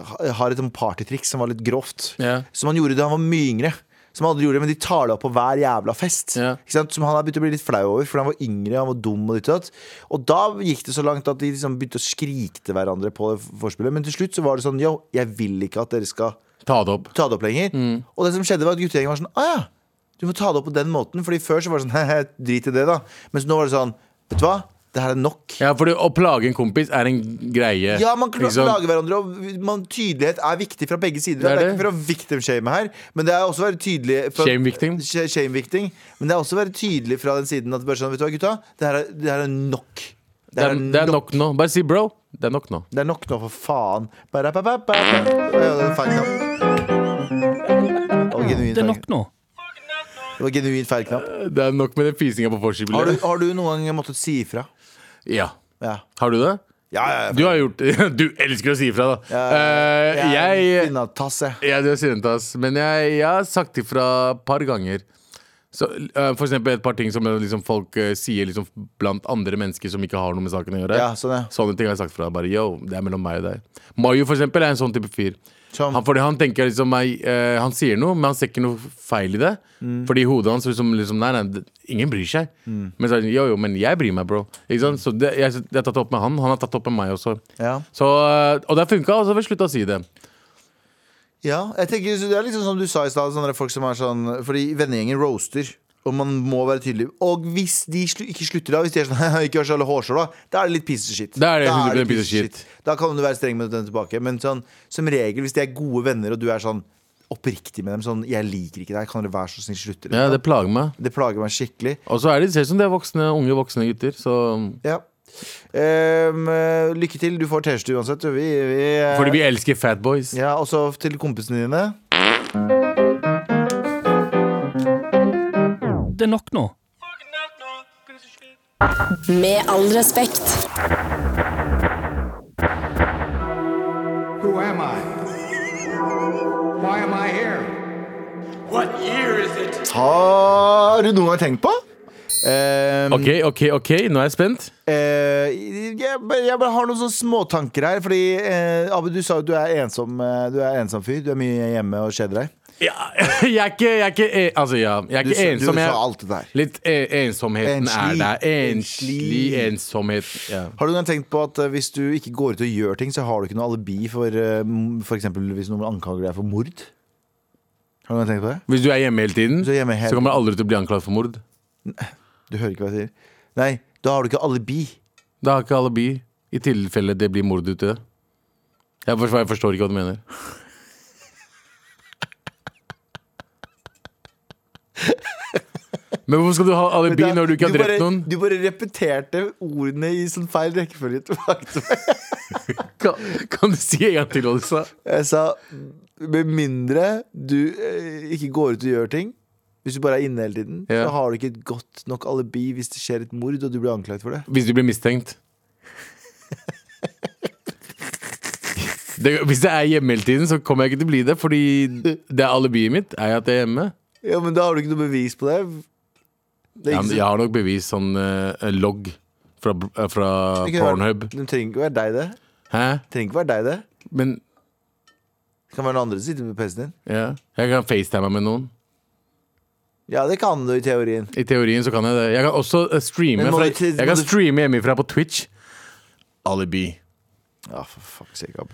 S2: ha- har et sånt partytriks som var litt grovt.
S3: Ja.
S2: Som han gjorde da han var mye yngre. Som han aldri gjorde, men de tar det opp på hver jævla fest.
S3: Ja.
S2: Ikke sant? Som han har begynt å bli litt flau over, for han var yngre han var dum. Og ditt og datt. Og da gikk det så langt at de liksom begynte å skrike til hverandre på det forspillet. Men til slutt så var det sånn Yo, jeg vil ikke at dere skal
S3: ta det opp.
S2: ta det opp lenger.
S3: Mm.
S2: Og det som skjedde var at guttegjengen var sånn Å ja, du må ta det opp på den måten. Fordi før så var det sånn He-he, drit i det, da. Mens nå var det sånn Vet du hva, det her er nok. Ja.
S3: Ja, for det- å plage en kompis er en greie.
S2: man kan
S3: Liksom,
S2: plage hverandre, og man, tydelighet er viktig fra begge sider. Det
S3: Det
S2: er,
S3: er
S2: ikke for å victim-shame her, men det er også å være tydelig fra-
S3: Shame victim.
S2: Sh- Shame-victim. Men det er også å være tydelig fra den siden at bare sånn, vet du hva, gutta, det her er, det her er nok.
S3: det, er, det er nok nå. Bare si bro. Det er nok nå.
S2: Det er nok nå, for faen. Bare, bare, bare, bare. Det var en feil knapp. Det var genuint
S7: Det er
S2: feil-
S7: nok nå.
S2: det var genuint feil knapp.
S3: Det er nok med den fisinga på
S2: Har du,
S3: vorspielet.
S2: har du noen gang måttet si ifra?
S3: Ja.
S2: Ja.
S3: Har du det?
S2: Ja, ja, ja.
S3: Du har gjort (laughs) Du elsker å si ifra, da. Eh,
S2: er en
S3: jeg
S2: kvinnatass, jeg.
S3: Ja, du er syrente, ass. Men jeg, jeg har sagt ifra et par ganger. Så, eh, for eksempel et par ting som eh, liksom, folk eh, sier liksom, blant andre mennesker som ikke har noe med saken å gjøre.
S2: Ja, sånn, ja.
S3: Sånne ting har jeg sagt fra. Bare yo, det er mellom meg og deg. Mayu for eksempel er en sånn type fyr.
S2: Som-
S3: Han, fordi han tenker liksom jeg, eh, Han sier noe, men han ser ikke noe feil i det.
S2: Mm.
S3: Fordi i hodet hans liksom, liksom Nei, nei, det- ingen bryr seg. Men så er det sånn, yo, yo, men jeg bryr meg, bro. Ikke sant? Så det, jeg, jeg har tatt det opp med han. Han har tatt det opp med meg også.
S2: Ja.
S3: Så, eh, og det har funka, og så har vi slutta å si det.
S2: Ja, jeg tenker så Det er liksom som du sa i stad, sånne folk som er sånn Fordi vennegjengen roaster. Og man må være tydelig. Og hvis de slu, ikke slutter da, hvis de er sånn (laughs) Ikke gjør så alle hårsår, da, da er det litt piece of shit.
S3: Da er det 100%
S2: piece of
S3: piece of
S2: Da kan du være streng med den tilbake. Men sånn, som regel, hvis de er gode venner, og du er sånn oppriktig med dem sånn 'Jeg liker ikke deg, kan dere være så snill slutte?'
S3: Ja, Det plager meg.
S2: det plager meg skikkelig.
S3: Og så er de, ser ut som de er voksne, unge voksne gutter. Så
S2: Ja. Ehm, eh, lykke til. Du får T-skjorte uansett. Vi, vi, eh,
S3: Fordi vi elsker fat boys.
S2: Ja, også til kompisene dine.
S7: Det er nok nå.
S4: Med all respekt.
S8: Who am I? Why am I here?
S2: Har du noen gang tenkt på? Ehm,
S3: Ok, ok, ok, nå er jeg spent.
S2: eh, jeg, bare- jeg bare har noen sånne småtanker her. Fordi eh, Abu, du sa jo at du er ensom eh, Du er ensom fyr. Du er mye hjemme og kjeder deg.
S3: Ja, (laughs) jeg er ikke, jeg er ikke eh, Altså, ja. Jeg er
S2: Du,
S3: ikke
S2: sa-
S3: ensom.
S2: du
S3: Jeg,
S2: sa alt det der.
S3: litt eh, ensomheten
S2: Enslig.
S3: er der. Enslig
S2: Enslig.
S3: ensomhet. Ja.
S2: Har du noen gang tenkt på at eh, hvis du ikke går ut og gjør ting, så har du ikke noe alibi for eh, m- for eksempel hvis noen anklager deg for mord? Har du noen gang tenkt på det?
S3: Hvis du er hjemme hele tiden,
S2: du er hjemme hele
S3: så kommer du aldri til å bli anklaget for mord.
S2: Du hører ikke hva jeg sier. Nei, da har du ikke alibi.
S3: Da har ikke alibi i tilfelle det blir mord ute. Jeg forstår, jeg forstår ikke hva du
S2: (laughs)
S3: mener. Men hvorfor skal du ha alibi
S2: Vent da,
S3: når du ikke har
S2: bare-
S3: drept noen?
S2: Du bare repeterte ordene i sånn feil rekkefølge tilbake til meg.
S3: Kan, kan du si en gang til hva du sa?
S2: Jeg sa med mindre du eh, ikke går ut og gjør ting, hvis du bare er inne hele tiden,
S3: Ja.
S2: så har du ikke et godt nok alibi hvis det skjer et mord og du blir anklaget for det.
S3: Hvis du blir mistenkt. Det, hvis det er hjemme hele tiden, så kommer jeg ikke til å bli det. Fordi det er alibiet mitt er at jeg er hjemme.
S2: Ja, men da har du ikke noe bevis på det. Det er
S3: Jeg,
S2: ikke så-
S3: jeg har nok bevis sånn eh, logg fra, eh, fra
S2: det kan være-
S3: Pornhub.
S2: Det trenger ikke være deg, det.
S3: Hæ?
S2: Det trenger ikke være deg, det.
S3: Men
S2: Det kan være noen andre som sitter med PC-en din.
S3: ja, jeg kan facetime med noen.
S2: Ja, det kan du i teorien.
S3: I teorien så kan jeg det. Jeg kan også eh, streame,
S2: Men må
S3: fra,
S2: du til-
S3: jeg
S2: må
S3: kan
S2: du-
S3: streame hjemmefra på Twitch. Alibi.
S2: Ja, for fuck's sake, Abu.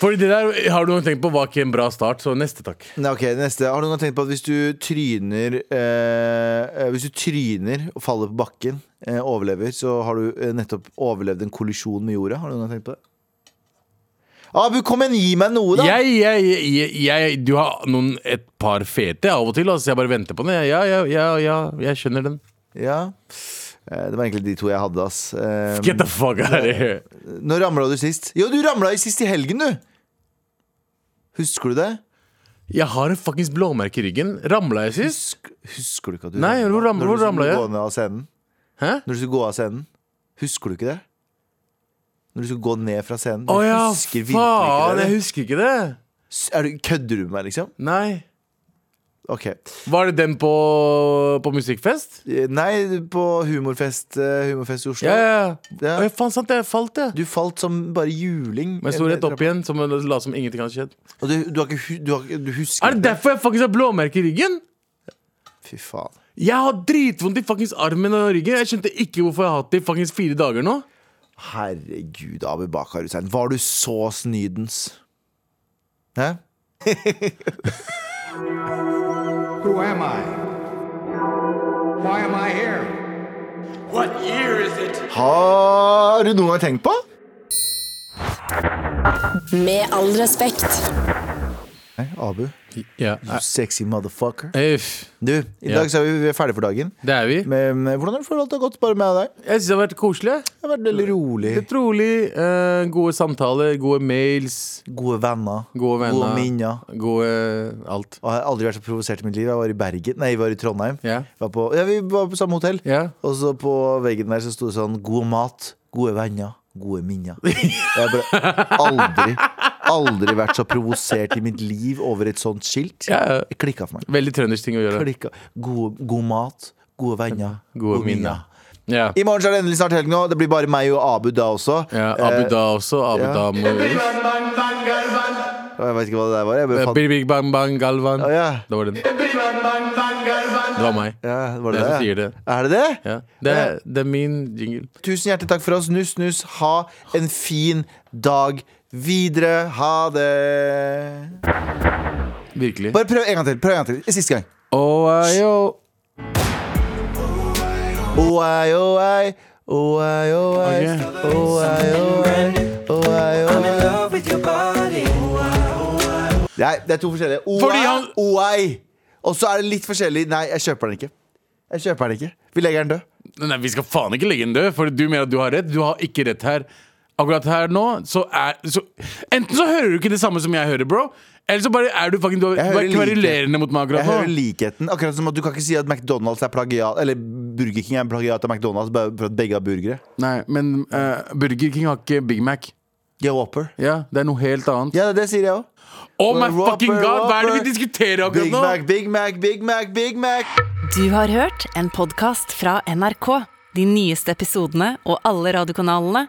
S3: Fordi det der har du nok tenkt på var ikke en bra start, så neste takk.
S2: Nei, ok, neste Har du noen gang tenkt på at hvis du tryner eh, eh, Hvis du tryner og faller på bakken eh, Overlever, så har du eh, nettopp overlevd en kollisjon med jorda Har du noen gang tenkt på det? Abu, kom igjen, gi meg noe da
S3: Jeg, jeg, jeg, jeg, du har noen, et par fete av og til. Altså, jeg bare venter på den. jeg. Ja, ja, ja, ja, jeg skjønner den.
S2: Ja Eh, Det var egentlig de to jeg hadde ass. Eh,
S3: Get the fuck out of here.
S2: Nå ramlet du sist Jo, du ramlet jo sist i helgen du Husker du det?
S3: Jeg har en fuckings blåmerke i ryggen. Ramla jeg sist?
S2: Husk, husker du ikke at du
S3: Nei, hvor ram-
S2: Når
S3: hvor
S2: du skulle
S3: ramlet jeg?
S2: Gå ned av scenen
S3: Hæ?
S2: Når du skulle gå av scenen. Husker du ikke det? Når du skulle gå ned fra scenen.
S3: Å
S2: Du
S3: ja,
S2: husker virkelig ikke det,
S3: faen! Jeg
S2: eller?
S3: husker ikke det.
S2: S- Er du, kødder du med meg, liksom?
S3: Nei.
S2: Ok.
S3: Var det den på, på musikkfest?
S2: Eh, Nei, på humorfest, eh, humorfest i Oslo.
S3: Ja, ja. ja.
S2: Ja.
S3: Å, ja, faen sant, jeg falt, jeg.
S2: Du falt som bare juling.
S3: Men jeg sto rett opp igjen, som jeg la som ingenting hadde skjedd.
S2: Og du, du, har ikke, hu- du, har, ikke- du husker
S3: Er det derfor jeg faktisk har blåmerke i ryggen?
S2: Fy faen.
S3: Jeg har dritvondt i fuckings armen og ryggen. Jeg skjønte ikke hvorfor jeg har hatt det i fuckings fire dager nå.
S2: Herregud, Abu Bakar Hussein. Var du så snydens? Hæ?
S8: Who am I? Why am I here?
S2: Har du noen gang tenkt på?
S4: Med all respekt.
S2: Nei, Abu.
S3: Ja.
S2: You sexy motherfucker.
S3: Uff.
S2: Du, i
S3: Ja.
S2: dag så er vi ferdig for dagen.
S3: Det er vi.
S2: Men eh, hvordan har du følt at det har gått bare med deg?
S3: Jeg syns det har vært koselig.
S2: Det har vært veldig rolig.
S3: Litt rolig. eh, gode samtaler, gode mails,
S2: Gode venner.
S3: gode venner.
S2: Gode minner.
S3: Gode eh, alt.
S2: Og jeg har aldri vært så provosert i mitt liv. Jeg var i Bergen. Nei, vi var i Trondheim.
S3: Ja.
S2: Var på, ja, vi var på samme hotell.
S3: Ja.
S2: Og så på veggen der så sto det sånn God mat, gode venner, gode
S3: (laughs)
S2: minner. Jeg har bare aldri, aldri vært så provosert i mitt liv over et sånt skilt.
S3: Ja, ja.
S2: Det klikka for meg.
S3: Veldig trøndersk ting å gjøre.
S2: Klikka. God, god mat, gode venner,
S3: Gode minner. Ja.
S2: I morgen så er det endelig snart helg nå. Det blir bare meg og Abu da også.
S3: ja Abu
S2: Eh,
S3: Da også. Abu
S2: ja.
S3: Da Moris.
S2: Eh, jeg vet ikke hva det der var. Jeg bare
S3: Eh,
S2: fant
S3: Big Big Bang Bang Galvan.
S2: Å, ja.
S3: Det var den. Det var meg.
S2: ja, var det
S3: Det er jeg som
S2: det?
S3: sier det.
S2: Er det det?
S3: Ja. Det, er, det er min jingle.
S2: Tusen hjertelig takk for oss. Nuss, nuss. Ha en fin dag videre. Ha det.
S3: Virkelig.
S2: Bare prøv en gang til. Prøv en gang til. Siste gang.
S3: Oh, yo.
S2: Oei, oei. Oei, oei. Oei, oei. Oei,
S5: I'm in
S2: oei.
S5: love with your body.
S2: Nei, det er to forskjellige.
S3: Fordi
S2: Oei,
S3: han-
S2: oei. Og så er det litt forskjellig. Nei, jeg kjøper den ikke. Jeg kjøper den ikke. Vi legger den død.
S3: Nei, vi skal faen ikke legge den død, for du mener at du har rett. Du har ikke rett her. Akkurat her nå, så er så, Enten så hører du ikke det samme som jeg hører, bro. Eller så bare er du fucking Du du
S2: Jeg hører
S3: er kverulerende
S2: like-
S3: mot meg
S2: Jeg
S3: akkurat
S2: hører
S3: nå.
S2: likheten. Akkurat som at du kan ikke si at McDonald's er plagiat Eller Burger King er en plagiat av McDonald's bare for at begge har burgere.
S3: Nei, men eh, Burger King har ikke Big Mac.
S2: Ja, Whopper.
S3: Ja, Det er noe helt annet.
S2: Ja, det sier jeg òg.
S3: Oh my
S2: Whopper,
S3: fucking god, hva er det vi
S2: Whopper. Big
S3: diskuterer akkurat nå?
S2: Mac, Big Mac, Big Mac, Big Mac.
S1: Du har hørt en podkast fra NRK. De nyeste episodene og alle radiokanalene